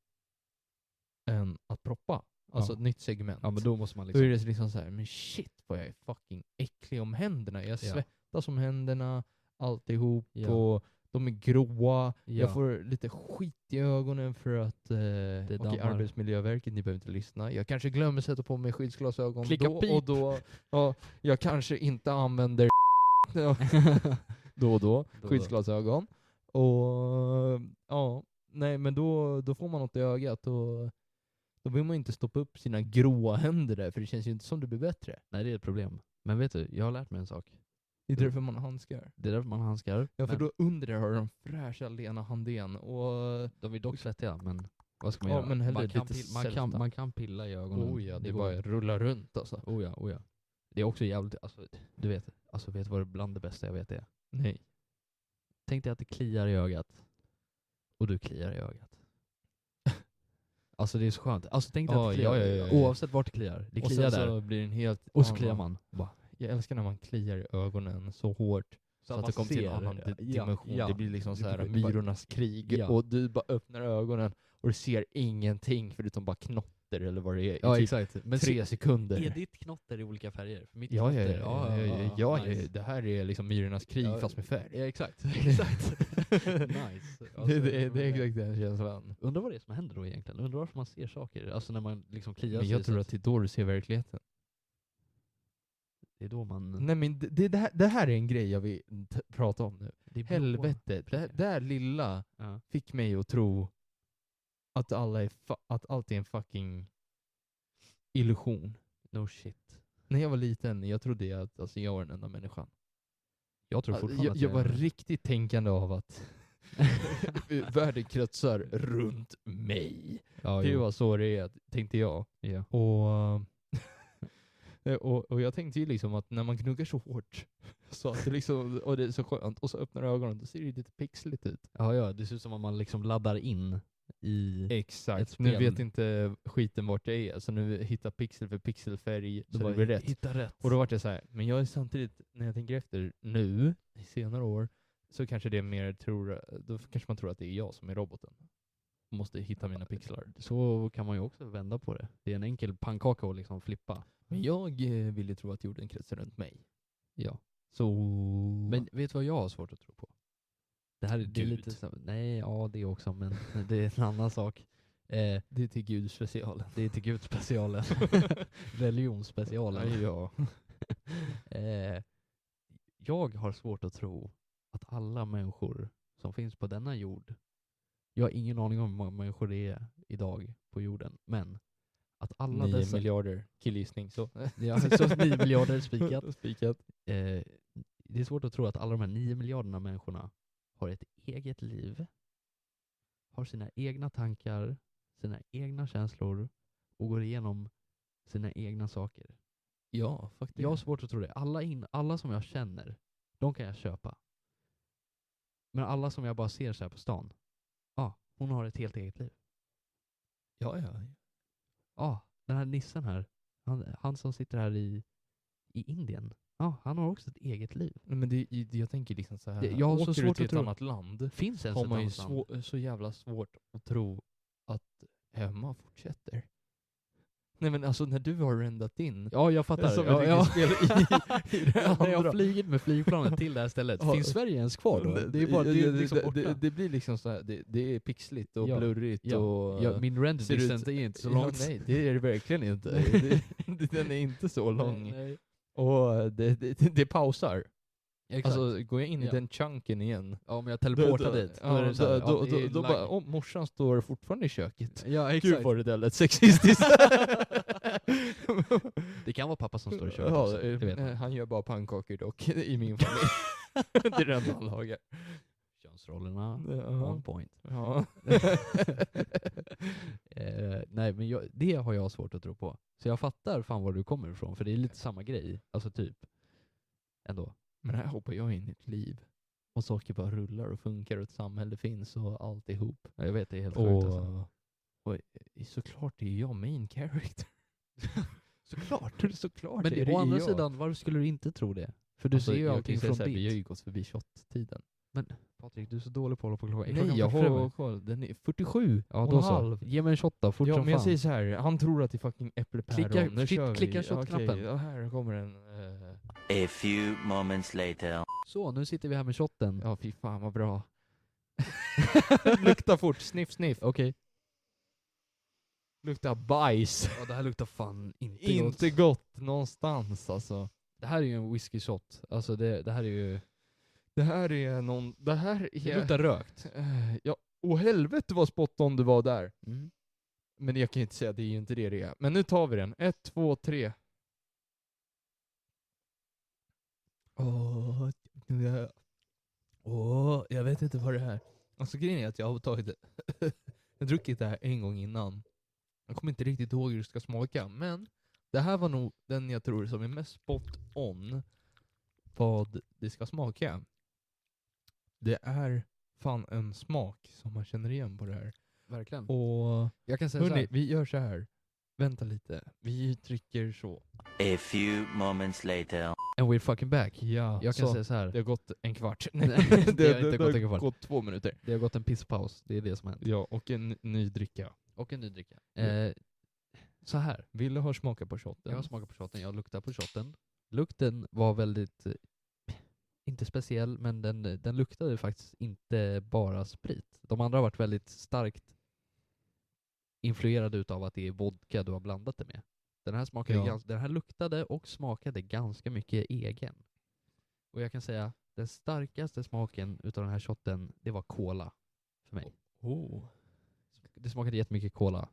S1: än att proppa. Alltså
S2: Ja.
S1: ett nytt segment.
S2: Ja men då måste man
S1: Då är
S2: liksom,
S1: det liksom så här, men shit vad jag är fucking äcklig om händerna. Jag
S2: Ja.
S1: svettas om händerna, alltihop,
S2: Ja.
S1: och de är gråa.
S2: Ja.
S1: Jag får lite skit i ögonen för att... Eh, okej,
S2: dammar.
S1: Arbetsmiljöverket, ni behöver inte lyssna. Jag kanske glömmer sätta på mig skyddsglasögon
S2: Klicka
S1: då
S2: pip.
S1: och då. Ja, jag kanske inte
S2: <laughs>
S1: använder <laughs> då och då
S2: då.
S1: skyddsglasögon. Och ja, nej men då, då får man något i ögat och då vill man ju inte stoppa upp sina gråa händer där för det känns ju inte som det blir bättre.
S2: nej det är ett problem. Men vet du, jag har lärt mig en sak.
S1: Det är därför man har handskar.
S2: Det är därför man har handskar.
S1: Mm. Ja för
S2: men
S1: då under där har de fräscha Lena Handén och
S2: De är dock svettiga men vad ska man
S1: Ja,
S2: göra?
S1: men hellre
S2: man, kan
S1: lite
S2: pill- man, kan,
S1: sälta.
S2: man kan pilla i ögonen.
S1: oh ja, det
S2: går
S1: bara rullar runt alltså.
S2: Oh ja, oh ja. Det är också jävligt, alltså, du vet, alltså vet du vad det bland det bästa jag vet är?
S1: Nej. <laughs>
S2: Tänk dig att det kliar i ögat. Och du kliar i ögat. Alltså det är så skönt. Alltså tänk dig att
S1: Ja,
S2: det kliar.
S1: ja, ja, ja, ja.
S2: Oavsett vart det kliar. Det
S1: och
S2: kliar
S1: sen
S2: där.
S1: så blir den helt...
S2: och så
S1: ja,
S2: kliar
S1: man-
S2: man. Bara.
S1: Jag älskar när man kliar i ögonen så hårt så, att
S2: man
S1: det kommer till en
S2: ser
S1: annan
S2: det.
S1: di-
S2: Ja,
S1: dimension.
S2: ja.
S1: Det blir liksom
S2: Du
S1: så här
S2: kommer- du bara-
S1: myrornas krig
S2: Ja.
S1: och du bara öppnar ögonen och du ser ingenting förutom bara knotter eller vad det är i
S2: Ja,
S1: typ
S2: exakt. Men
S1: tre sekunder.
S2: är ditt knotter i olika färger? För mitt
S1: Ja, ja,
S2: knotter,
S1: ja, ja, ja, ja,
S2: nice.
S1: det här är liksom myrornas krig
S2: Ja,
S1: fast med färg.
S2: Ja,
S1: <laughs>
S2: exakt. <laughs> exakt. nice. Alltså,
S1: det, det, det är exakt den känslan.
S2: Undrar vad det är som händer då egentligen? Undrar varför man ser saker? Alltså när man liksom kliar
S1: Men
S2: sig
S1: jag tror
S2: så
S1: att det är då du ser verkligheten.
S2: det är då man...
S1: Nej men det, det, det, här, det här är en grej jag vill t- prata om nu.
S2: det är blå-
S1: Helvetet, det, det här lilla
S2: Ja.
S1: fick mig att tro att, alla är fa- att allt är en fucking illusion.
S2: No shit.
S1: När jag var liten, jag trodde jag att alltså, jag var den enda människan.
S2: Jag tror
S1: Alltså,
S2: fortfarande
S1: jag,
S2: att
S1: jag var <laughs>
S2: är-
S1: riktigt tänkande av att
S2: <laughs>
S1: världen kretsar runt mig.
S2: ja,
S1: Det
S2: jo.
S1: var så det är, tänkte jag.
S2: ja.
S1: Och, eh, <laughs> och, och jag tänkte ju liksom att när man gnuggar så hårt, <laughs> så att det liksom, och det är så skönt, och så öppnar du ögonen, då ser det ju lite pixligt ut.
S2: ja, ja, det ser ut som om man liksom laddar in i...
S1: Exakt.
S2: Ett
S1: Nu
S2: spel.
S1: vet inte skiten vart det är, så nu hittar pixel för pixelfärg så
S2: Du bara
S1: det blir rätt.
S2: Hitta rätt.
S1: Och då vart det så här, men jag är samtidigt, när jag tänker efter nu, i senare år, så kanske det är mer tror, då kanske man tror att det är jag som är roboten. Måste hitta mina pixlar.
S2: Så kan man ju också vända på det. Det är en enkel pannkaka att liksom flippa.
S1: Men jag eh, vill ju tro att jorden kretsar runt mig.
S2: Ja.
S1: Så...
S2: Men vet du vad jag har svårt att tro på? Det här är, det är
S1: Mm. Gud.
S2: lite så, Nej, ja det också, men <laughs> det är en annan sak. Eh,
S1: Det är till Gud specialen.
S2: det är
S1: <laughs>
S2: till gudspecialen. <laughs> Religionsspecialen.
S1: Ja.
S2: <laughs> Eh, jag har svårt att tro att alla människor som finns på denna jord, jag har ingen aning om hur många människor det är idag på jorden, men att alla
S1: Nio
S2: dessa...
S1: miljarder. Killgissning. <laughs> Så.
S2: <laughs> Ja, så nio miljarder spikat.
S1: Spikat.
S2: Eh, det är svårt att tro att alla de här nio miljarderna människorna har ett eget liv, har sina egna tankar, sina egna känslor och går igenom sina egna saker.
S1: Ja, faktiskt.
S2: Jag har svårt att tro det. Alla, in, alla som jag känner, de kan jag köpa. Men alla som jag bara ser så här på stan, ja, hon har ett helt eget liv.
S1: ja, ja.
S2: Ja, den här nissen här, han, han som sitter här i, i Indien, ja, han har också ett eget liv.
S1: Nej, Men det, i- det, jag tänker liksom så här.
S2: Det- jag har så
S1: åker du
S2: svårt
S1: till
S2: att
S1: ett
S2: tro-
S1: annat land
S2: Finns ens
S1: har
S2: ett
S1: man ju
S2: annat land?
S1: svå, så jävla svårt att tro att hemma fortsätter. Nej men alltså när du har rendat in
S2: Ja, jag fattar.
S1: Som ett
S2: ja, ja.
S1: riktigt
S2: <laughs>
S1: spel i- i det
S2: Ja, När jag
S1: andra.
S2: har flugit med flygplanet till det här stället,
S1: Ja.
S2: finns Sverige ens kvar då? Det är bara det, är liksom borta.
S1: det, det blir liksom så här, det, det är pixligt och
S2: Ja.
S1: blurrigt
S2: Ja.
S1: och...
S2: ja, min render
S1: ser ut-
S2: distance är inte så
S1: Ja,
S2: långt.
S1: nej, det är det verkligen inte. Det- det- <laughs> Den är inte så lång.
S2: Nej.
S1: Och det, det, det- det pausar.
S2: Exakt.
S1: Alltså, går jag in i
S2: Ja.
S1: den chunken igen,
S2: ja, om jag teleportar
S1: då- då-
S2: dit, då
S1: ja,
S2: är det så här,
S1: då,
S2: ja,
S1: då,
S2: det är
S1: då, då
S2: lag.
S1: bara, oh, morsan står fortfarande i köket.
S2: Ja,
S1: Gud
S2: exakt.
S1: vad det där lät sexistiskt.
S2: Det kan vara pappa som står i köket
S1: ja,
S2: också, det vet
S1: eh,
S2: man.
S1: han gör bara pannkakor dock, i min familj. <laughs> det är det enda han lagar.
S2: Könsrollerna,
S1: Ja.
S2: on <laughs> point.
S1: Ja.
S2: Eh, nej, men jag, det har jag svårt att tro på. Så jag fattar fan var du kommer ifrån, för det är lite samma grej. Alltså typ, ändå. typ
S1: Men här hoppar jag in i ett liv. Och saker bara rullar och funkar och ett samhälle finns och alltihop.
S2: Ja, jag vet, det är helt sjukt
S1: Och,
S2: alltså.
S1: och i- såklart är jag main character. såklart, såklart
S2: Men
S1: är
S2: det,
S1: det
S2: å andra
S1: jag.
S2: sidan, varför skulle du inte tro det? För du
S1: Alltså,
S2: ser ju
S1: jag kan
S2: allting
S1: säga
S2: från
S1: så här, Vi har ju
S2: ditt.
S1: gått förbi shot-tiden.
S2: Patrik, du är så dålig på att hålla på klockan.
S1: Nej,
S2: Klockan
S1: jag
S2: fortfarande.
S1: har koll. Den är 47
S2: Ja,
S1: och en
S2: då så.
S1: halv.
S2: Ge mig en shot då, fort
S1: Ja,
S2: som
S1: men jag
S2: fan.
S1: säger så här. han tror att det är fucking äppelpäron.
S2: Klicka-
S1: Nu
S2: shit,
S1: kör vi.
S2: klicka
S1: Okej,
S2: shot-knappen.
S1: ja, här kommer den. eh,
S3: A few moments later.
S2: Så, nu sitter vi här med shotten.
S1: ja, fy fan vad <laughs> bra. Lukta fort, sniff sniff.
S2: Okej.
S1: Lukta bajs.
S2: Ja, det här luktar fan inte gott.
S1: Inte gott någonstans alltså.
S2: Det här är ju en whisky shot. Alltså det, det här är ju...
S1: Det här är någon... Det här är...
S2: Det luktar rökt.
S1: Eh, ja, åh helvete vad spot on du var där.
S2: Mm.
S1: Men jag kan ju inte säga, det är ju inte det det är. Men nu tar vi den. Ett, två, tre. Åh, jag, åh, jag vet inte vad det här... Alltså grejen är att jag har tagit <laughs> det. jag har druckit det här en gång innan. Jag kommer inte riktigt ihåg hur det ska smaka, men det här var nog den jag tror som är mest spot on vad det ska smaka. Det är fan en smak som man känner igen på det här.
S2: verkligen.
S1: Och
S2: jag kan säga så
S1: hörni,
S2: här.
S1: vi gör så här. Vänta lite. Vi trycker så.
S3: A few moments later.
S2: And we're fucking back.
S1: Ja,
S2: Jag kan
S1: så.
S2: säga så här.
S1: Det har gått en <laughs> kvart.
S2: Nej, det har inte gått en
S1: har
S2: kvart.
S1: gått två minuter.
S2: Det har gått en pisspaus, det är det som har hänt.
S1: Ja, och en ny dricka.
S2: Och en ny dricka.
S1: Ja.
S2: Eh, så här,
S1: Ville har smakat på shotten.
S2: jag har smakat på shotten, jag luktar på shotten. Lukten var väldigt, eh, inte speciell, men den, den luktade faktiskt inte bara sprit. De andra har varit väldigt starkt influerade utav att det är vodka du har blandat det med. Den här, smakade
S1: Ja.
S2: gans, den här luktade och smakade ganska mycket egen. Och jag kan säga, den starkaste smaken utav den här shotten, det var cola för mig.
S1: Oh.
S2: Det smakade jättemycket cola.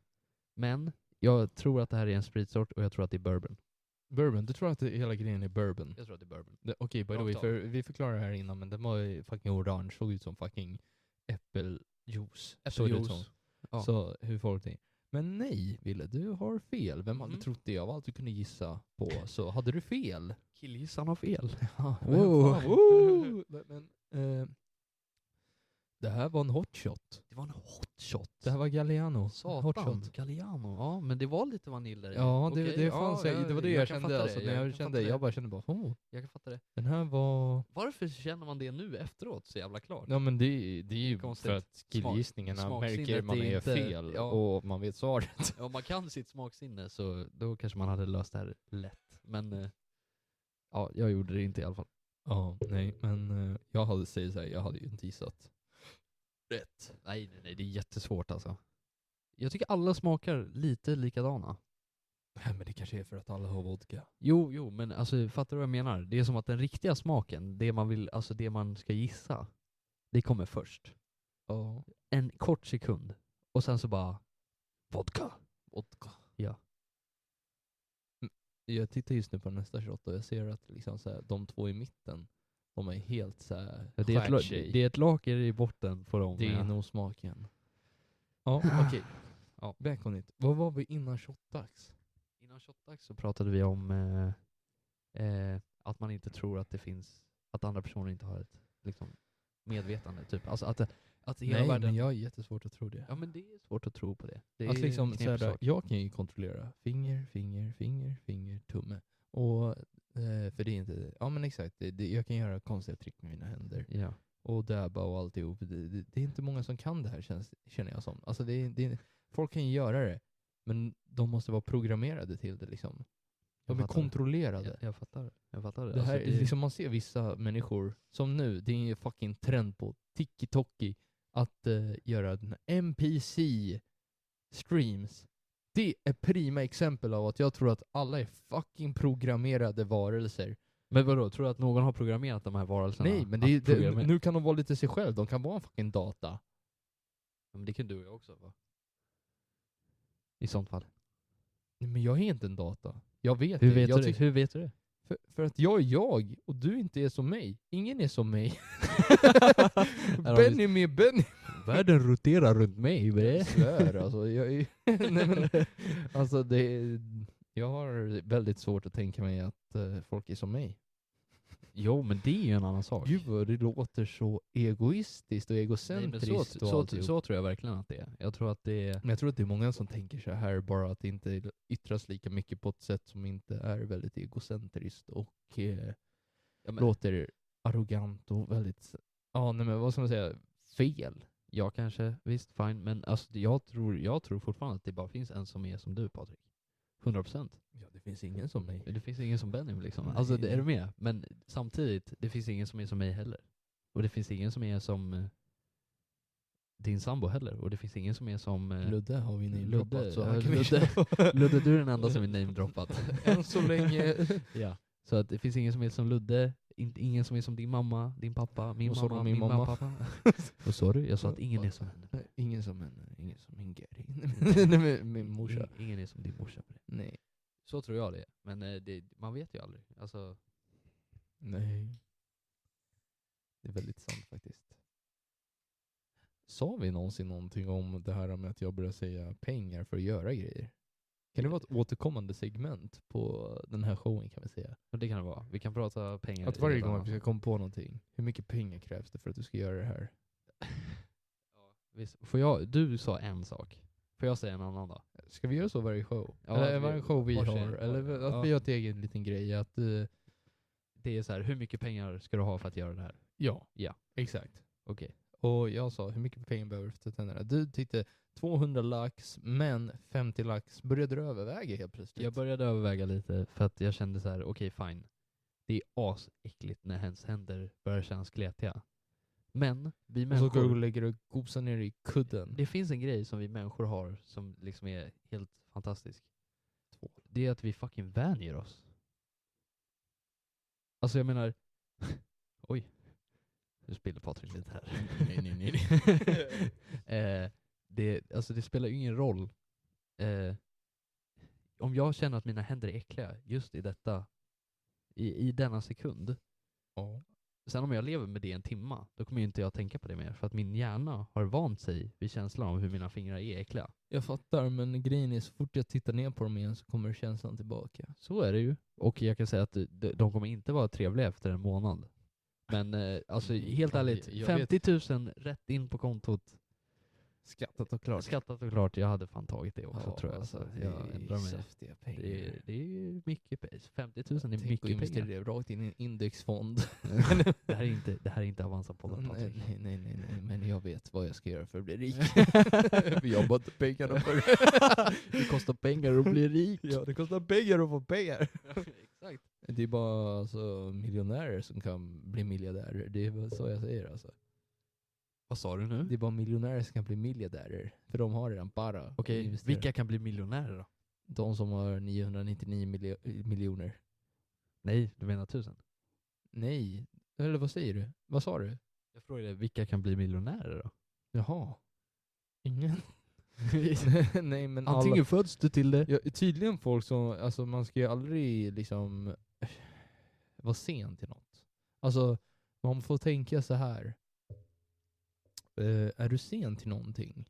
S2: Men jag tror att det här är en spritsort och jag tror att det är bourbon.
S1: Bourbon. Du tror att det, hela grejen är bourbon?
S2: Jag tror att det är bourbon.
S1: Det- Okej, by the way,
S2: Rakt av.
S1: för vi förklarade det här innan, men den var ju fucking orange, såg ut som fucking äppeljuice. såg det ut som.
S2: Äppeljuice. Ja.
S1: Så hur folk tänkte. Men nej, Ville, du har fel. Vem hade
S2: Mhm.
S1: trott det? Av allt du kunde gissa på så hade du fel.
S2: Killgissaren har fel.
S1: <laughs> Ja,
S2: men Wow. fan, wow.
S1: men, eh, det här var en hot shot.
S2: Det var en hot shot.
S1: Det här var Galliano. Hot
S2: Satan.
S1: shot.
S2: Galliano. Ja, men det var lite vanilj där i.
S1: Ja, det,
S2: Okej,
S1: det, fanns,
S2: ja,
S1: det var det jag,
S2: kan
S1: kände.
S2: fatta
S1: alltså,
S2: det,
S1: när jag,
S2: kan
S1: kände
S2: fatta det.
S1: jag bara kände bara, oh,
S2: Jag kan fatta det.
S1: den här var...
S2: Varför känner man det nu efteråt så jävla klart?
S1: Ja men det, det är ju
S2: Konstigt.
S1: för att killgissningarna
S2: Smak-
S1: märker
S2: smaksinnet
S1: man
S2: är
S1: är
S2: inte-
S1: fel
S2: ja.
S1: och man vet svaret.
S2: Om man kan sitt smaksinne så då kanske man hade löst det här lätt. Men eh, ja, jag gjorde det inte i alla fall.
S1: <laughs> Ja, nej men eh, jag hade säger så här, jag hade ju inte gissat rätt.
S2: Nej, nej, nej, det är jättesvårt alltså. Jag tycker alla smakar lite likadana.
S1: Nej men det kanske är för att alla har vodka.
S2: Jo, jo, men alltså fattar du vad jag menar? Det är som att den riktiga smaken, det man vill, alltså det man ska gissa, det kommer först.
S1: Ja.
S2: En kort sekund. Och sen så bara, vodka.
S1: Vodka.
S2: Ja.
S1: Mm, Jag tittar just nu på nästa shot och jag ser att liksom så här, de två i mitten, de är helt så här,
S2: Ja, Det är, ett,
S1: skär
S2: la-
S1: sig.
S2: det är ett lager i botten på dem.
S1: Det är
S2: ja.
S1: nog smaken. Ja okej. Ja. Välkommen hit. Vad var vi innan shotdags?
S2: Innan shotdags så pratade vi om eh, eh, att man inte tror att det finns, att andra personer inte har ett liksom, medvetande. Typ. Alltså att, att hela
S1: Nej
S2: världen...
S1: men jag har jättesvårt att tro det.
S2: Ja men det är svårt att tro på det. det
S1: Att
S2: är
S1: liksom,
S2: en
S1: såhär,
S2: knepig sak.
S1: jag kan ju kontrollera finger, finger, finger, finger, tumme. Och, eh, för det är inte, ja men exakt, det, det, jag kan göra konstiga trick med mina händer.
S2: Ja.
S1: Och dabba och alltihop. Det, det, det är inte många som kan det här känns, känner jag som. Alltså det, är- det, är- folk kan ju göra det, men de måste vara programmerade till det liksom.
S2: Jag
S1: De är
S2: fattar.
S1: kontrollerade.
S2: Jag, jag fattar. Jag fattar.
S1: Det här,
S2: alltså,
S1: är liksom man ser vissa människor, som nu, det är ju fucking trend på TikToki att eh, göra den här NPC streams. Det är prima exempel av att jag tror att alla är fucking programmerade varelser.
S2: Men vadå, tror du att någon har programmerat de här varelserna?
S1: Nej, men det, är ju-
S2: Att programmera-
S1: det, nu kan de vara lite sig själv, de kan vara en fucking data.
S2: Ja, men det kan du och jag också va? I sånt fall.
S1: Nej, Men jag är inte en data. Jag vet
S2: Hur
S1: det.
S2: vet,
S1: jag
S2: du, det?
S1: tycker-
S2: hur vet du <laughs> det?
S1: För, för att jag är jag, och du inte är som mig. Ingen är som mig. Benny med Benny.
S2: Världen roterar runt mig bre.
S1: Jag svär alltså. Jag, är- <laughs> nej, men, alltså det, är- jag har väldigt svårt att tänka mig att eh, folk är som mig.
S2: Jo men det är ju en annan sak.
S1: Gud vad det låter så egoistiskt och
S2: Nej, men
S1: egocentriskt
S2: så,
S1: och
S2: så, så,
S1: alltihop.
S2: tror jag verkligen att det är. Jag tror att det är...
S1: Men jag tror att det är många som tänker så här, bara att det inte yttras lika mycket på ett sätt som inte är väldigt egocentriskt och eh,
S2: Ja, men,
S1: låter arrogant och väldigt, ja nej men vad ska man säga, fel.
S2: jag kanske, visst fine, men alltså, jag, tror, jag tror fortfarande att det bara finns en som är som du Patrik. 100 procent.
S1: Ja, det finns ingen som mig.
S2: Det finns ingen som Benny liksom. Alltså det, är du med? Men samtidigt, det finns ingen som är som mig heller. Och det finns ingen som är som eh, din sambo heller. Och det finns ingen som är som... eh,
S1: Ludde har vi
S2: Ludde,
S1: namedroppat så han
S2: ja,
S1: kan vi
S2: Ludde.
S1: <laughs> köra.
S2: Ludde, du är den enda som är namedroppat.
S1: Än så <laughs> länge.
S2: ja. Så att det finns ingen som är som Ludde, in, ingen som är som din mamma, din pappa, min
S1: Och så
S2: mamma,
S1: då min
S2: mamma,
S1: mamma.
S2: pappa. Vad sa du? Jag sa att ingen är som henne.
S1: <laughs> Ingen som en, ingen som en Gary. <laughs> Nej, men Mm. min, morsa.
S2: Ingen, ingen är som din morsa.
S1: Nej.
S2: Så tror jag det är. Men eh, det, man vet ju aldrig. Alltså,
S1: Nej. Det är väldigt sant faktiskt. Sa vi någonsin någonting om det här med att jag börjar säga pengar för att göra grejer? Kan det vara ett återkommande segment på den här showen kan vi säga?
S2: och det kan det vara. Vi kan prata pengar.
S1: Att
S2: i
S1: varje
S2: något
S1: gång
S2: annat.
S1: vi ska komma på någonting, hur mycket pengar krävs det för att du ska göra det här?
S2: Ja, Visst. Får jag, du sa en sak. Får jag säga en annan då?
S1: Ska vi göra så varje show?
S2: Ja, att
S1: eller
S2: vi-
S1: varje show vi
S2: varsin-
S1: har, eller att
S2: ja.
S1: vi har ett egen liten grej att, eh,
S2: Det är så här, hur mycket pengar ska du ha för att göra det här?
S1: ja,
S2: Ja.
S1: exakt.
S2: Okej.
S1: Och jag sa, hur mycket pengar behöver du för tänderna? Du tyckte 200 lax, men 50 lax började du överväga helt plötsligt.
S2: Jag började överväga lite för att jag kände så här, okej fine. Det är asäckligt när hens händer börjar kännas gletiga. Men vi
S1: och så går du och
S2: människor,
S1: lägger dig och gosar ner i kudden.
S2: det finns en grej som vi människor har som liksom är helt fantastisk. Det är att vi fucking vänjer oss. Alltså jag menar, <laughs> oj. Nu spiller Patrik lite här.
S1: Nej, nej, nej,
S2: <laughs> eh, det, alltså det spelar ju ingen roll. Eh, om jag känner att mina händer är äckliga just i detta, i, i denna sekund.
S1: Ja.
S2: Sen om jag lever med det en timma, då kommer ju inte jag tänka på det mer. För att min hjärna har vant sig vid känslan av hur mina fingrar är äckliga.
S1: Jag fattar, men grejen är så fort jag tittar ner på dem igen så kommer känslan tillbaka.
S2: Så är det ju. Och jag kan säga att de- de kommer inte vara trevliga efter en månad. Men eh, alltså
S1: Mm,
S2: helt
S1: ja,
S2: ärligt,
S1: jag- jag
S2: 50 000 rätt in på kontot.
S1: Skattat och klart.
S2: Skattat och klart, jag hade fan tagit det också
S1: Ja,
S2: tror jag.
S1: alltså,
S2: så
S1: det
S2: jag
S1: är
S2: ändrar mig.
S1: saftiga pengar.
S2: Det är, det är ju mycket pengar. 50 000 är
S1: Tänk att
S2: mycket
S1: investera
S2: pengar.
S1: det rakt in i en
S2: <laughs>
S1: indexfond. <laughs>
S2: Det här är inte, det här är inte Avanza-podden
S1: nej,
S2: Patrik.
S1: nej, nej, nej, nej, men jag vet vad jag ska göra för att bli rik. För <laughs> jag har inte pengarna för <laughs>
S2: Det kostar pengar att bli rik.
S1: Ja, det kostar pengar att få <laughs> pengar.
S2: Exakt.
S1: Det är bara alltså, miljonärer som kan bli miljardärer. Det är väl så jag säger alltså.
S2: Vad sa du nu?
S1: Det är bara miljonärer som kan bli miljardärer. För de har redan bara. att
S2: Okej,
S1: investera.
S2: vilka kan bli miljonärer då?
S1: De som har 999 miljo- miljoner.
S2: Nej, du menar tusen?
S1: Nej. Eller vad säger du? Vad sa du?
S2: Jag frågade vilka kan bli miljonärer då?
S1: Jaha. Ingen? <laughs> nej men alla-
S2: <laughs> Antingen föds du till det.
S1: Ja, tydligen folk som, alltså man ska ju aldrig liksom vara sen till något. Alltså man får tänka så här. Eh, är du sen till någonting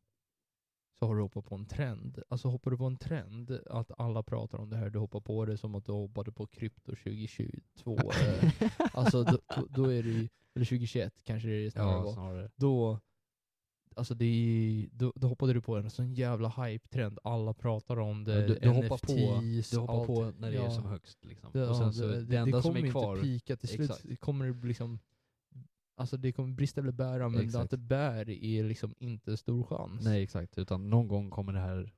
S1: så har du hoppat på en trend. Alltså hoppar du på en trend att alla pratar om det här, du hoppar på det som att du hoppade på krypto 2022.
S2: <laughs>
S1: eh, alltså då, då- då är det ju, eller 2021 kanske det är snarare var
S2: Ja, snarare.
S1: då, alltså det är, då, då hoppade du på en sån jävla hype-trend. Alla pratar om det,
S2: Ja, du- du hoppar
S1: NFTs,
S2: Du hoppar
S1: allt.
S2: på när det är
S1: Ja.
S2: som högst liksom.
S1: Det,
S2: och sen
S1: ja,
S2: så,
S1: det,
S2: det,
S1: det,
S2: enda som
S1: kommer
S2: är
S1: ju
S2: kvar.
S1: inte pika till slut.
S2: Exakt.
S1: Det kommer det liksom, alltså det kommer brista eller bära, men
S2: Exakt.
S1: att det bär är liksom inte stor chans.
S2: Nej exakt, utan någon gång kommer det här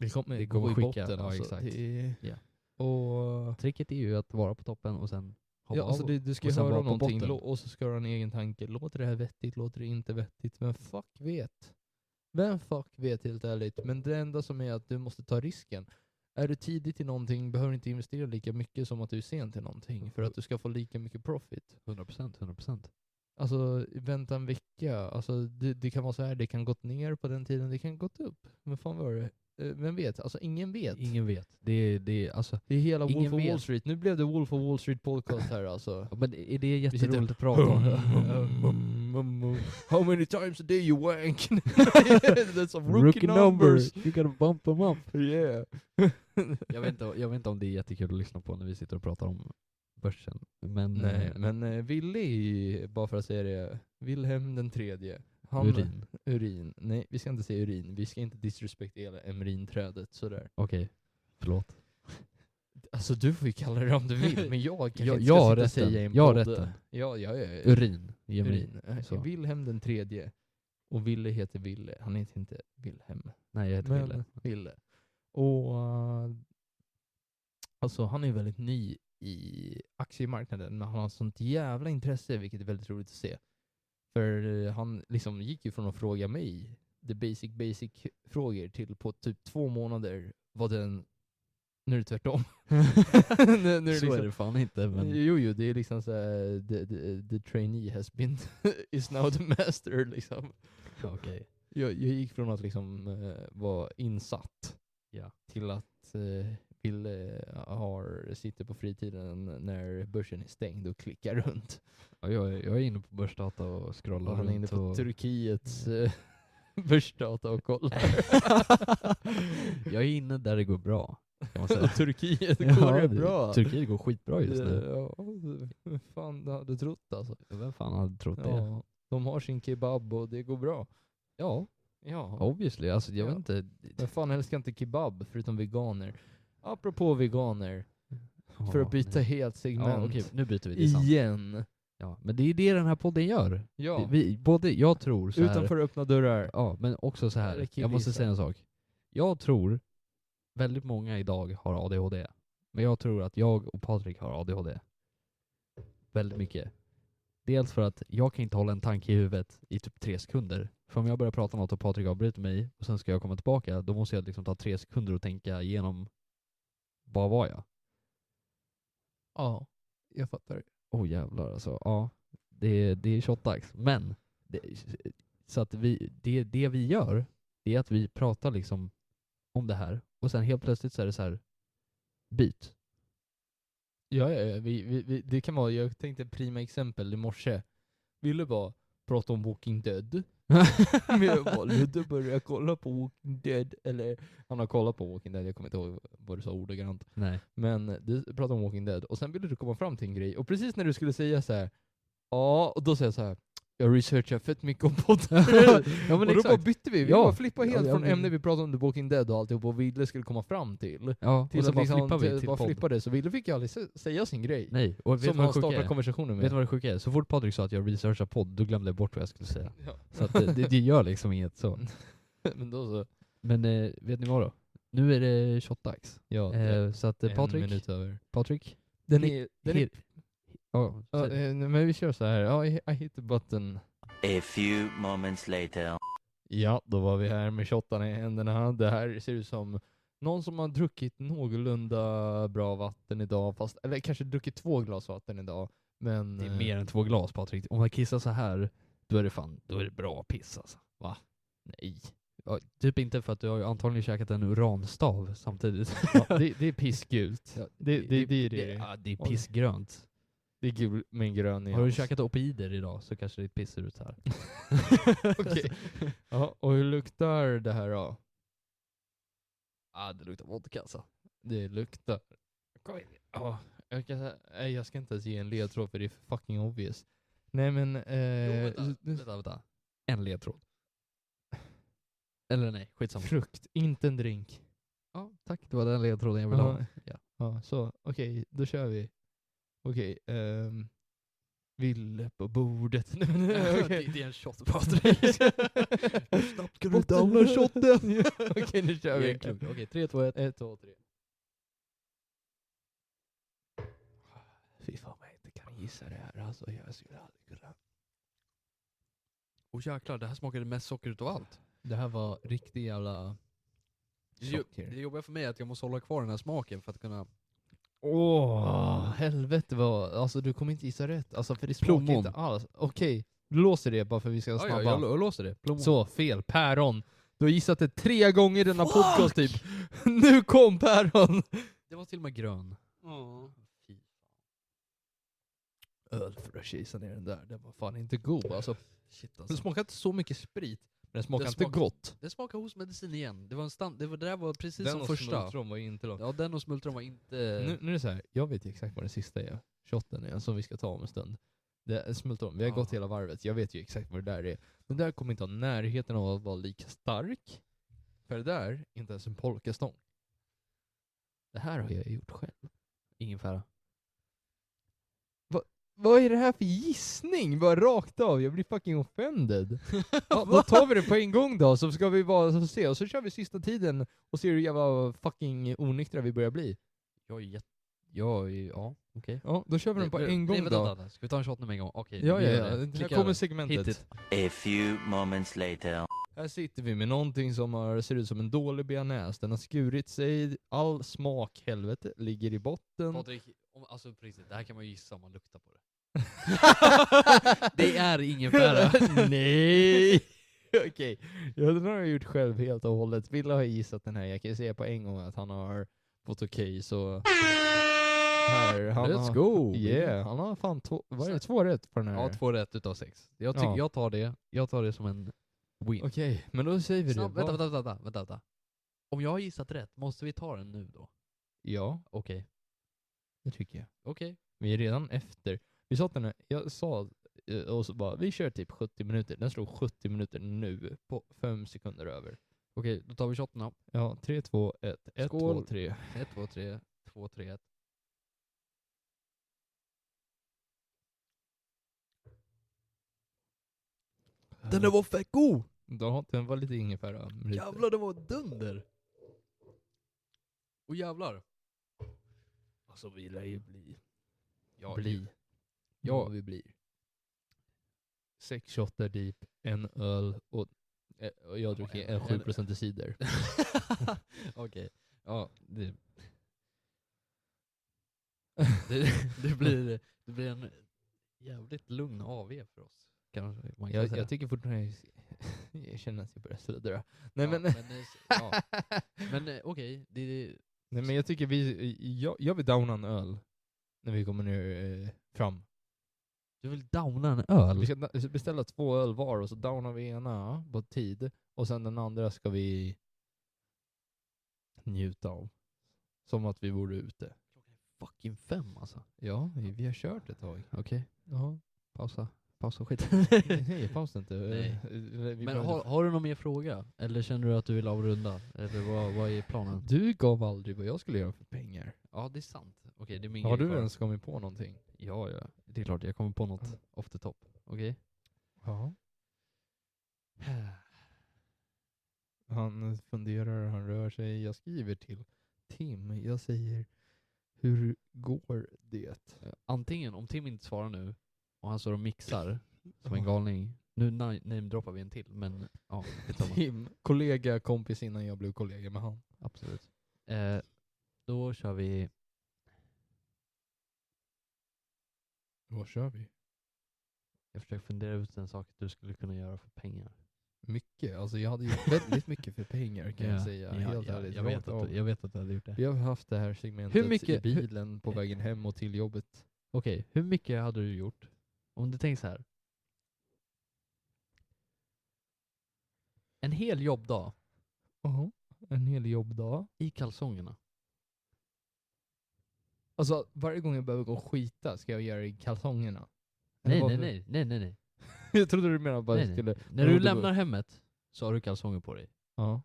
S1: det kommer,
S2: det
S1: gå
S2: kommer
S1: i
S2: skicka,
S1: botten
S2: ja,
S1: alltså.
S2: exakt.
S1: Det är,
S2: Ja.
S1: Och,
S2: Tricket är ju att vara på toppen och sen hoppa
S1: ja, alltså
S2: av.
S1: du, du ska
S2: och sen
S1: höra
S2: vara
S1: om
S2: på
S1: någonting
S2: botten.
S1: lo- och så ska du ha en egen tanke. Låter det här vettigt? Låter det inte vettigt? Men fuck vet. Vem fuck vet helt ärligt? Men det enda som är att du måste ta risken. Är du tidigt i någonting behöver du inte investera lika mycket som att du är sen till någonting för att du ska få lika mycket profit.
S2: 100%, 100%.
S1: Alltså vänta en vecka. Alltså, det, det kan vara så här, det kan gått ner på den tiden, det kan gått upp. Men fan var det? Eh, Vem vet? Alltså ingen vet.
S2: Ingen vet. Det är, det är, alltså,
S1: det är hela
S2: ingen
S1: Wolf of Wall
S2: vet.
S1: Street. Nu blev det Wolf of Wall Street podcast här alltså.
S2: ja, men är det är
S1: sitter-
S2: jätteroligt att prata om.
S1: Ehm, How many times a day you wank? <laughs> That's some
S2: <laughs> Rookie, numbers! You gotta bump them up!
S1: Yeah.
S2: jag, vet inte, jag vet inte om det är jättekul att lyssna på när vi sitter och pratar om börsen. Men,
S1: Nej,
S2: eh,
S1: men eh, Wille är ju, bara för att säga det, Wilhelm den tredje. Han,
S2: urin.
S1: urin. Nej, vi ska inte säga urin. Vi ska inte disrespektera emrinträdet sådär.
S2: Okej, förlåt.
S1: Alltså du får ju kalla det om du vill,
S2: <laughs>
S1: men jag kanske
S2: Jag-
S1: inte
S2: jag
S1: ska
S2: har
S1: sitta och
S2: rätten.
S1: säga i en
S2: Jag har
S1: podd.
S2: rätten.
S1: Ja, ja, ja, ja.
S2: Urin. Ge mig.
S1: Urin. Eh,
S2: Så.
S1: Wilhelm den tredje. Och Wille heter Wille. Han heter inte Wilhelm.
S2: Nej, jag heter
S1: Men-
S2: Wille.
S1: Ville. Och eh, alltså han är väldigt ny i aktiemarknaden men han har sånt jävla intresse vilket är väldigt roligt att se. För eh, han liksom gick ju från att fråga mig the basic basic frågor till på typ två månader var den nu är det
S2: <laughs>
S1: tvärtom. nu, nu är
S2: Så
S1: liksom,
S2: är det fan
S1: <laughs>
S2: inte. Men,
S1: Jo, jo, det är liksom såhär, the, the, the trainee has been, <laughs> is now the master liksom.
S2: okej.
S1: Jag, jag gick från att liksom eh, vara insatt
S2: Ja.
S1: till att eh, Ville har, sitter på fritiden när börsen är stängd och klickar runt.
S2: Ja, Jag, är- jag är inne på börsdata och scrollar
S1: Och han är inne
S2: runt
S1: på
S2: och... Mm.
S1: Turkiets eh, <laughs> börsdata och kollar.
S2: <laughs> jag är inne där det går bra, kan man säga.
S1: Turkiet
S2: <laughs>
S1: går <laughs> det bra.
S2: Turkiet går skitbra just nu.
S1: Ja, det- fan du hade trott alltså.
S2: Vem fan hade trott det?
S1: Ja, de har sin kebab och det går bra. Ja. Ja.
S2: Obviously, alltså jag
S1: Ja.
S2: vet inte.
S1: Men fan älskar inte kebab förutom veganer? Apropå veganer, för
S2: Ja,
S1: att byta
S2: nej.
S1: helt segment.
S2: Ja, okej, nu byter vi. Det är sant.
S1: Igen.
S2: Ja, men det är det den här podden gör.
S1: Ja.
S2: Vi, både, jag tror så här,
S1: Utanför öppna dörrar.
S2: Ja, men också så
S1: Eller
S2: här. Jag måste
S1: killgissar.
S2: säga en sak. Jag tror väldigt många idag har ADHD. Men jag tror att jag och Patrik har ADHD. Väldigt mycket. Dels för att jag kan inte hålla en tanke i huvudet i typ tre sekunder. För om jag börjar prata något och Patrik avbryter mig och sen ska jag komma tillbaka, då måste jag liksom ta tre sekunder och tänka igenom vad var jag?
S1: Ja, jag fattar.
S2: Åh oh, jävlar alltså. Ja, det, det är shotdags. Men, det, så att vi, det, det vi gör, det är att vi pratar liksom om det här och sen helt plötsligt så är det så här
S1: <laughs>
S2: byt.
S1: Ja, ja, ja. Vi, vi, vi, det kan vara, jag tänkte prima exempel i morse. Ville bara prata om Walking Dead. Men <laughs> jag bara, Ludde började kolla på Walking Dead, eller han har kollat på Walking Dead, jag kommer inte ihåg vad du sa ordagrant.
S2: Nej.
S1: Men du pratade om Walking Dead, och sen ville du komma fram till en grej, och precis när du skulle säga så här, ja, och då säger jag så här. Jag researchar fett mycket om podden.
S2: <laughs> Ja,
S1: <laughs>
S2: men
S1: och då
S2: exakt.
S1: bara bytte vi, vi
S2: Ja.
S1: bara flippade helt
S2: Ja, ja,
S1: från
S2: men-
S1: ämnet vi pratade om The Walking Dead och alltihop, och Ville skulle komma fram till.
S2: Ja,
S1: Till
S2: och så
S1: att
S2: bara
S1: liksom,
S2: flippar vi
S1: till-
S2: till
S1: bara
S2: podd.
S1: flippade, så Ville fick ju aldrig sä- säga sin grej.
S2: Nej, och vet
S1: som
S2: du vad
S1: han
S2: det sjuka
S1: startar
S2: är?
S1: konversationen med.
S2: Vet du vad det sjuka är? Så fort Patrik sa att jag researchar podd, då glömde jag bort vad jag skulle säga.
S1: <laughs> Ja.
S2: Så att det, det, det gör liksom inget så.
S1: Men då så.
S2: Men eh, vet ni vad då? Nu är det shotdags.
S1: Ja,
S2: Eh, så att eh,
S1: en
S2: Patrik,
S1: minut över.
S2: Patrik?
S1: Den
S2: Hit-
S1: är, den är,
S2: hit- Ja,
S1: ja,
S2: säg.
S1: eh, men vi kör så här. Ja, I, I hit the button.
S3: A few moments later.
S1: Ja, då var vi här med shottarna i händerna. Det här ser ut som någon som har druckit någorlunda bra vatten idag, fast, eller kanske druckit två glas vatten idag. Men
S2: Det är
S1: eh,
S2: mer än två glas Patrik. Om man kissar så här, då är det fan, då är det bra piss alltså. Va? Nej. Ja, typ inte för att du har ju antagligen käkat en uranstav samtidigt.
S1: ja,
S2: <laughs>
S1: det, det är pissgult.
S2: Ja,
S1: det, det, det, är det,
S2: Ja, det är
S1: Oj.
S2: pissgrönt.
S1: det är gul med en grön nyans.
S2: Har du käkat opioider idag så kanske ditt piss ser ut så <laughs> här. Alltså.
S1: Okej. Ja, och hur luktar det här då?
S2: ah, det luktar vodka alltså.
S1: Det luktar. Kom igen. Ja, jag, kan, säga- nej, jag ska inte ens ge en ledtråd för det är fucking obvious. Nej men...
S2: Jo,
S1: Eh,
S2: vänta, vänta, vänta. En ledtråd. Eller nej, skitsamma.
S1: frukt, inte en drink.
S2: Ja, tack, det var den ledtråden jag ville ha.
S1: Ja.
S2: Ja.
S1: Ja, så okej, då kör vi. Okej, ehm... Ville på bordet. <laughs> Nej, men, eh, okej. <laughs>
S2: det är en shot Patrik. Hur snabbt kan du downloada shotten?
S1: <laughs> Ja, Okej, nu kör vi.
S2: Jäklar. Okej, tre, två, ett.
S1: Ett, två, tre. Fy fan vad jag inte kan gissa det här alltså. Jag skulle aldrig kunna.
S2: Och jäklar, det här smakade mest socker utav allt.
S1: Det här var riktig jävla...
S2: Det, jo-
S1: Socker.
S2: det jobbiga för mig är att jag måste hålla kvar den här smaken för att kunna...
S1: Åh, Ah, helvete vad... Alltså du kommer inte gissa rätt. Alltså för det smakar
S2: Plommon.
S1: inte alls. Okej, du låser det bara för vi ska
S2: Ja,
S1: snabba.
S2: ja, jag, lå- jag låser det. Plommon.
S1: Så, fel. Päron. Du har gissat det tre gånger i denna podcast typ. <laughs> Nu kom päron!
S2: Det var till och med grön. Fy.
S1: Öl för att kisa ner den där. Den var fan inte god alltså.
S2: Shit
S1: Den
S2: alltså.
S1: smakar inte så mycket sprit, men den smakar
S2: Den
S1: inte
S2: smakar-
S1: gott.
S2: Det smakar hostmedicin igen. Det, var en stand... det, var, det där var precis
S1: Den
S2: som
S1: och
S2: första.
S1: smultron var ju inte långt.
S2: Ja, den och smultron var inte...
S1: Nu, nu är det så här. jag vet ju exakt vad den sista är. Shotten är, som vi ska ta om en stund. Det är smultron. Vi har
S2: Ja.
S1: gått hela varvet, jag vet ju exakt vad det där är. Den där kommer inte ha närheten av att vara lika stark. För det där är inte ens en polkastång. Det här har jag gjort själv.
S2: Ingefära.
S1: Vad är det här för gissning? Bara rakt av, jag blir fucking offended. <laughs> ja, då tar vi det på en gång då, så ska vi bara så se, och så kör vi sista tiden och ser hur jävla fucking onyktra vi börjar bli.
S2: Jag är jätte... Jag är... Ja, okej.
S1: Ja, då kör vi den på en gång
S2: nej, vänta,
S1: då.
S2: Vänta, vänta. Ska vi ta en shot nu med en gång? Okej,
S1: Ja,
S2: vi
S1: ja,
S2: gör
S1: ja. Det
S2: det.
S1: här
S2: Klicka
S1: kommer
S2: över.
S1: segmentet.
S2: Hit it.
S3: A few moments later.
S1: Här sitter vi med någonting som har, ser ut som en dålig bearnaise. Den har skurit sig, all smak, helvete, ligger i botten.
S2: Patrik, om, alltså på riktigt, det här kan man ju gissa om man luktar på det. <laughs> Det är
S1: <laughs>
S2: ingefära.
S1: Nej! Okej, ja, den har jag gjort själv helt och hållet. Ville har gissat den här, jag kan ju säga på en gång att han har fått okej så... Här, han har,
S2: go!
S1: yeah, han har fan två, vad är det, två rätt på den här?
S2: Ja, två rätt utav sex. Jag, tycker
S1: Ja.
S2: jag, tar det, jag tar det som en win.
S1: Okej, men då säger vi
S2: Snabb,
S1: det.
S2: vänta,
S1: Vad-
S2: vänta, vänta, vänta, vänta. Om jag har gissat rätt, måste vi ta den nu då?
S1: Ja,
S2: Okej.
S1: det tycker jag.
S2: Okej.
S1: Vi är redan efter. Vi sa att den här, jag sa eh, och så bara, vi kör typ 70 minuter. Den slog 70 minuter nu, på fem sekunder över.
S2: Okej, då tar vi shotten
S1: Ja, 3, 2, 1, 1, 2,
S2: Skål.
S1: 3.
S2: 1, 2, 3, 2, 3, 1. Den där var fett god!
S1: Ja, den var lite ingefära. lite.
S2: Jävlar, det var dunder! Och jävlar!
S1: Alltså vi lär ju bli.
S2: Ja,
S1: bli.
S2: Ja,
S1: vi blir. Sex shotter deep, en öl och, eh, och jag drack
S2: en-
S1: en 7% cider.
S2: <laughs> Okej. Ja, det... det, det, blir, det blir en jävligt lugn AV för oss. Kanske man kan
S1: Jag,
S2: säga.
S1: jag tycker fortfarande, <laughs> jag känner att jag börjar sluddra. Nej
S2: ja,
S1: men,
S2: men, eh, s- ja.
S1: <laughs>
S2: men eh, okej, det är...
S1: nej men jag tycker vi, jag, jag vill downa en öl när vi kommer nu eh, fram.
S2: Du vill downa en öl?
S1: Vi ska da- beställa två öl var och så downar vi ena på tid och sen den andra ska vi njuta av. Som att vi vore ute.
S2: Fucking fem alltså.
S1: Ja, vi, vi har kört ett tag.
S2: Okej,
S1: Ja.
S2: pausa. Pausa skit. <laughs>
S1: Nej, paus inte.
S2: Nej.
S1: Eh, vi
S2: men
S1: behöver-
S2: har, har du någon mer fråga? Eller känner du att du vill avrunda? Eller vad, vad är planen?
S1: Du gav aldrig vad jag skulle göra för pengar.
S2: Ja, det är sant. Okej, det är min
S1: Har
S2: grej
S1: du
S2: kvar.
S1: ens kommit på någonting?
S2: Ja, ja. Det är klart jag kommer på något off the top. Okej?
S1: Ja. Han funderar, han rör sig. Jag skriver till Tim. Jag säger, hur går det?
S2: Eh, Antingen, om Tim inte svarar nu och han står och mixar <clears throat> som en galning. Nu na- namedroppar vi en till, men <laughs> ja,
S1: <laughs>
S2: skitsamma.
S1: Tim, kollega, kompis innan jag blev kollega med han.
S2: Absolut. Eh, då kör vi...
S1: Vad kör vi?
S2: Jag försöker fundera ut en sak du skulle kunna göra för pengar.
S1: Mycket. Alltså jag hade gjort väldigt mycket för pengar kan jag
S2: Ja,
S1: säga.
S2: ja,
S1: Helt
S2: ja,
S1: ärligt.
S2: Jag vet,
S1: rakt
S2: att,
S1: av.
S2: du- jag vet att du hade gjort det.
S1: Vi har haft det här segmentet
S2: Hur mycket-
S1: i bilen på vägen hem och till jobbet.
S2: Okej, hur mycket hade du gjort? Om du tänker så här. En hel jobbdag
S1: Jaha, en hel jobbdag.
S2: i kalsongerna.
S1: Alltså varje gång jag behöver gå och skita ska jag göra det i kalsongerna. Eller
S2: Nej, nej,
S1: varför-
S2: nej, nej, nej, nej.
S1: <laughs> jag trodde du menade bara
S2: Nej,
S1: att jag
S2: nej.
S1: skulle...
S2: När
S1: Jo,
S2: du
S1: det
S2: lämnar
S1: var-
S2: hemmet så har du kalsonger på dig.
S1: Ja.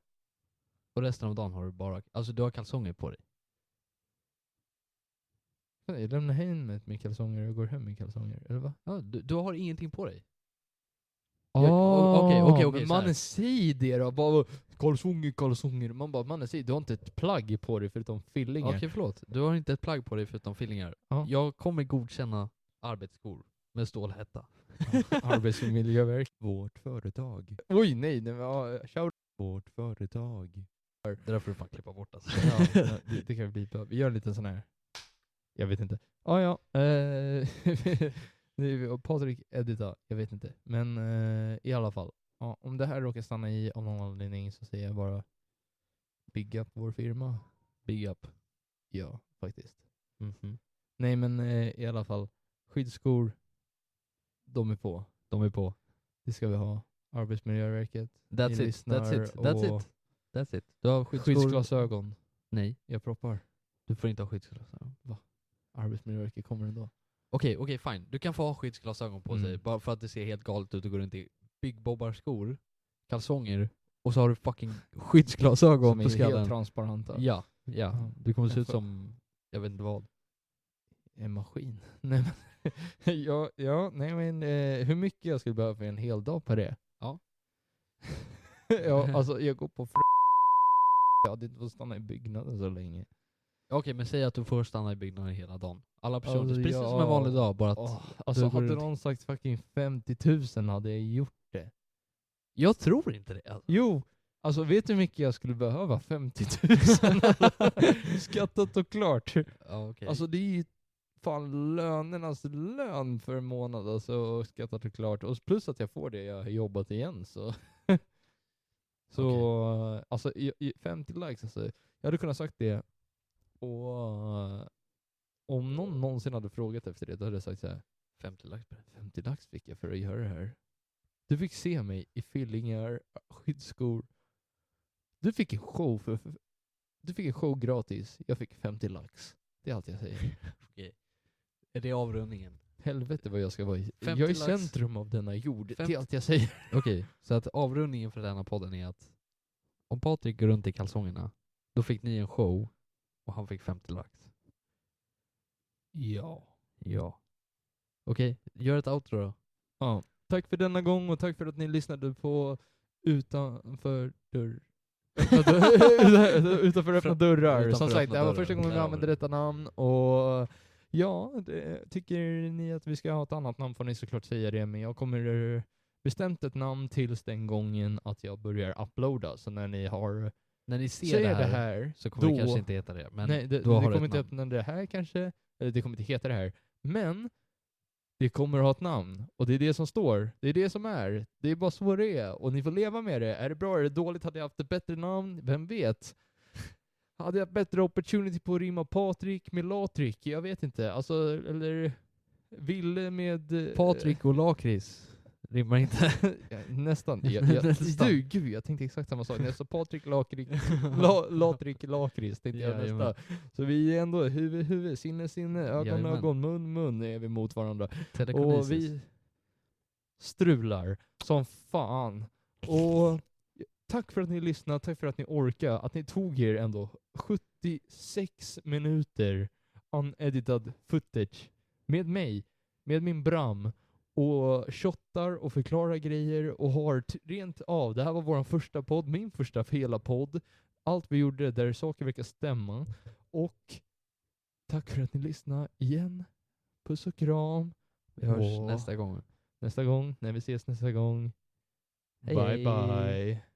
S2: Och resten av dagen har du bara, alltså du har kalsonger på dig.
S1: Jag lämnar hemmet med kalsonger och går hem med kalsonger, eller va?
S2: Ja, du, du har ingenting på dig. Jag- o- okej,
S1: Ah,
S2: okej, okej,
S1: men
S2: så här.
S1: mannen säger det då. Bara, kalsonger, kalsonger. Man bara, mannen säger du har inte ett plagg på dig förutom fillingar.
S2: Okej, förlåt. Du har inte ett plagg på dig förutom fillingar.
S1: Ja.
S2: Jag kommer godkänna arbetsskor med <laughs> stålhätta.
S1: <laughs> Arbetsmiljöverk. Vårt företag. Oj, nej, nej men, ja, shout. Vårt företag.
S2: Det där får du fan klippa bort <laughs> alltså.
S1: Ja, det, det kan vi bipa. Vi gör en liten sån här. Jag vet inte. Ah, ja, eh, <laughs> nu- och Patrik edita, jag vet inte. Men eh, i alla fall. Ja, om det här råkar stanna i av någon anledning så säger jag bara big up vår firma.
S2: Big up.
S1: Ja, faktiskt.
S2: Mhm.
S1: Nej men eh, i alla fall. Skyddsskor, de är på.
S2: De är på.
S1: Det ska vi ha. Arbetsmiljöverket,
S2: That's
S1: Ni
S2: it,
S1: lyssnar
S2: that's it, that's
S1: och-
S2: it. That's it. Du har skyddsskor.
S1: skyddsglasögon.
S2: Nej,
S1: Jag proppar.
S2: du får inte ha skyddsglasögon.
S1: Arbetsmiljöverket kommer ändå.
S2: Okej, okej fine. Du kan få ha skyddsglasögon på
S1: Mm.
S2: sig bara för att det ser helt galet ut och går runt i byggbobbarskor, kalsonger och så har du fucking skyddsglasögon
S1: Som
S2: på
S1: är helt
S2: skallen.
S1: transparenta.
S2: Ja, ja.
S1: Ja.
S2: Du kommer se
S1: Jag
S2: ut
S1: får-
S2: som, jag vet inte vad.
S1: En maskin. <laughs> Nej men, <laughs> ja, ja, nej men eh, hur mycket jag skulle behöva för en hel dag på det?
S2: Ja.
S1: <laughs>
S2: <laughs>
S1: ja, alltså jag går på fr- Jag hade inte fått stanna i byggnaden så länge.
S2: Okej, men säg att du får stanna i byggnaden hela dagen. Alla personer,
S1: Alltså,
S2: precis
S1: ja.
S2: som en vanlig dag, bara att
S1: Åh, alltså
S2: du går
S1: hade
S2: runt-
S1: någon sagt fucking 50 000 hade jag gjort
S2: Jag tror inte det.
S1: <laughs>
S2: Alltså.
S1: Jo, alltså vet du hur mycket jag skulle behöva? 50
S2: <laughs>
S1: 000. <laughs> Skattat och klart.
S2: Ja, okej.
S1: Alltså det är ju fan lönernas lön för en månad alltså, och skattat och klart. Och plus att jag får det jag har jobbat igen så. <laughs> så alltså i, i 50 likes alltså. Jag hade kunnat sagt det och eh, om någon någonsin hade frågat efter det då hade jag sagt så här.
S2: 50 lax på det.
S1: 50 lax fick jag för att göra det här. Du fick se mig i fillingar, skyddsskor. Du fick en show för, för du fick en show gratis. Jag fick 50 lax. Det är allt jag säger.
S2: Okej. Är det avrundningen?
S1: Helvete vad jag ska vara i. Jag
S2: 50
S1: är i
S2: lax.
S1: centrum av denna jord. Det är
S2: 50
S1: allt jag säger. <laughs>
S2: Okej, så att avrundningen för denna podden är att om Patrik går runt i kalsongerna, då fick ni en show och han fick 50 lax.
S1: Ja.
S2: Ja. Okej, gör ett outro då.
S1: ja. Tack för denna gång och tack för att ni lyssnade på Utanför dörr... <laughs>
S2: <laughs>
S1: Utanför öppna
S2: Från-
S1: dörrar.
S2: Utanför
S1: Som sagt,
S2: öppna
S1: det här var
S2: dörrar.
S1: första gången vi
S2: Ja.
S1: använde detta namn och ja, det, tycker ni att vi ska ha ett annat namn får ni såklart säga det, men jag kommer bestämt ett namn tills den gången att jag börjar uploada, så när ni har
S2: När ni ser
S1: ser
S2: det här, så kommer
S1: då-
S2: det kanske inte heta det, men
S1: Nej, det,
S2: då
S1: det
S2: har du
S1: kommer
S2: ett
S1: inte
S2: namn.
S1: öppna det här kanske, eller det kommer inte heta det här, men det kommer ha ett namn. Och det är det som står, det är det som är. Det är bara så det är, och ni får leva med det. Är det bra, är det dåligt, hade jag haft ett bättre namn, vem
S2: <laughs>
S1: vet? Hade jag bättre opportunity på att rimma Patrik med Latrik? Jag vet inte. Alltså, eller Ville med... eh,
S2: Patrik och Lakrits rimmar inte.
S1: Ja,
S2: <laughs>
S1: Nästan. Jag, jag,
S2: Nästan.
S1: Du, gud, jag tänkte exakt samma sak. När jag sa Patrik Lakrik, <laughs> la, Latrik Lakrits tänkte jag
S2: Jajamän.
S1: nästa. Så vi är ändå huvud, huvud, sinne, sinne, ögon,
S2: Jajamän.
S1: ögon, mun, mun är vi mot varandra.
S2: Telekinesis.
S1: Och vi strular som fan. Och tack för att ni lyssnade, tack för att ni orkade, att ni tog er ändå 76 minuter unedited footage med mig, med min Bram och shottar och förklarar grejer och har t- rent av, det här var vår första podd, min första hela podd, allt vi gjorde där saker verkar stämma och tack för att ni lyssnade igen. Puss och kram
S2: Vi hörs
S1: Åh.
S2: nästa gång.
S1: nästa gång, när vi ses nästa gång.
S2: Hej,
S1: bye
S2: hej.
S1: bye.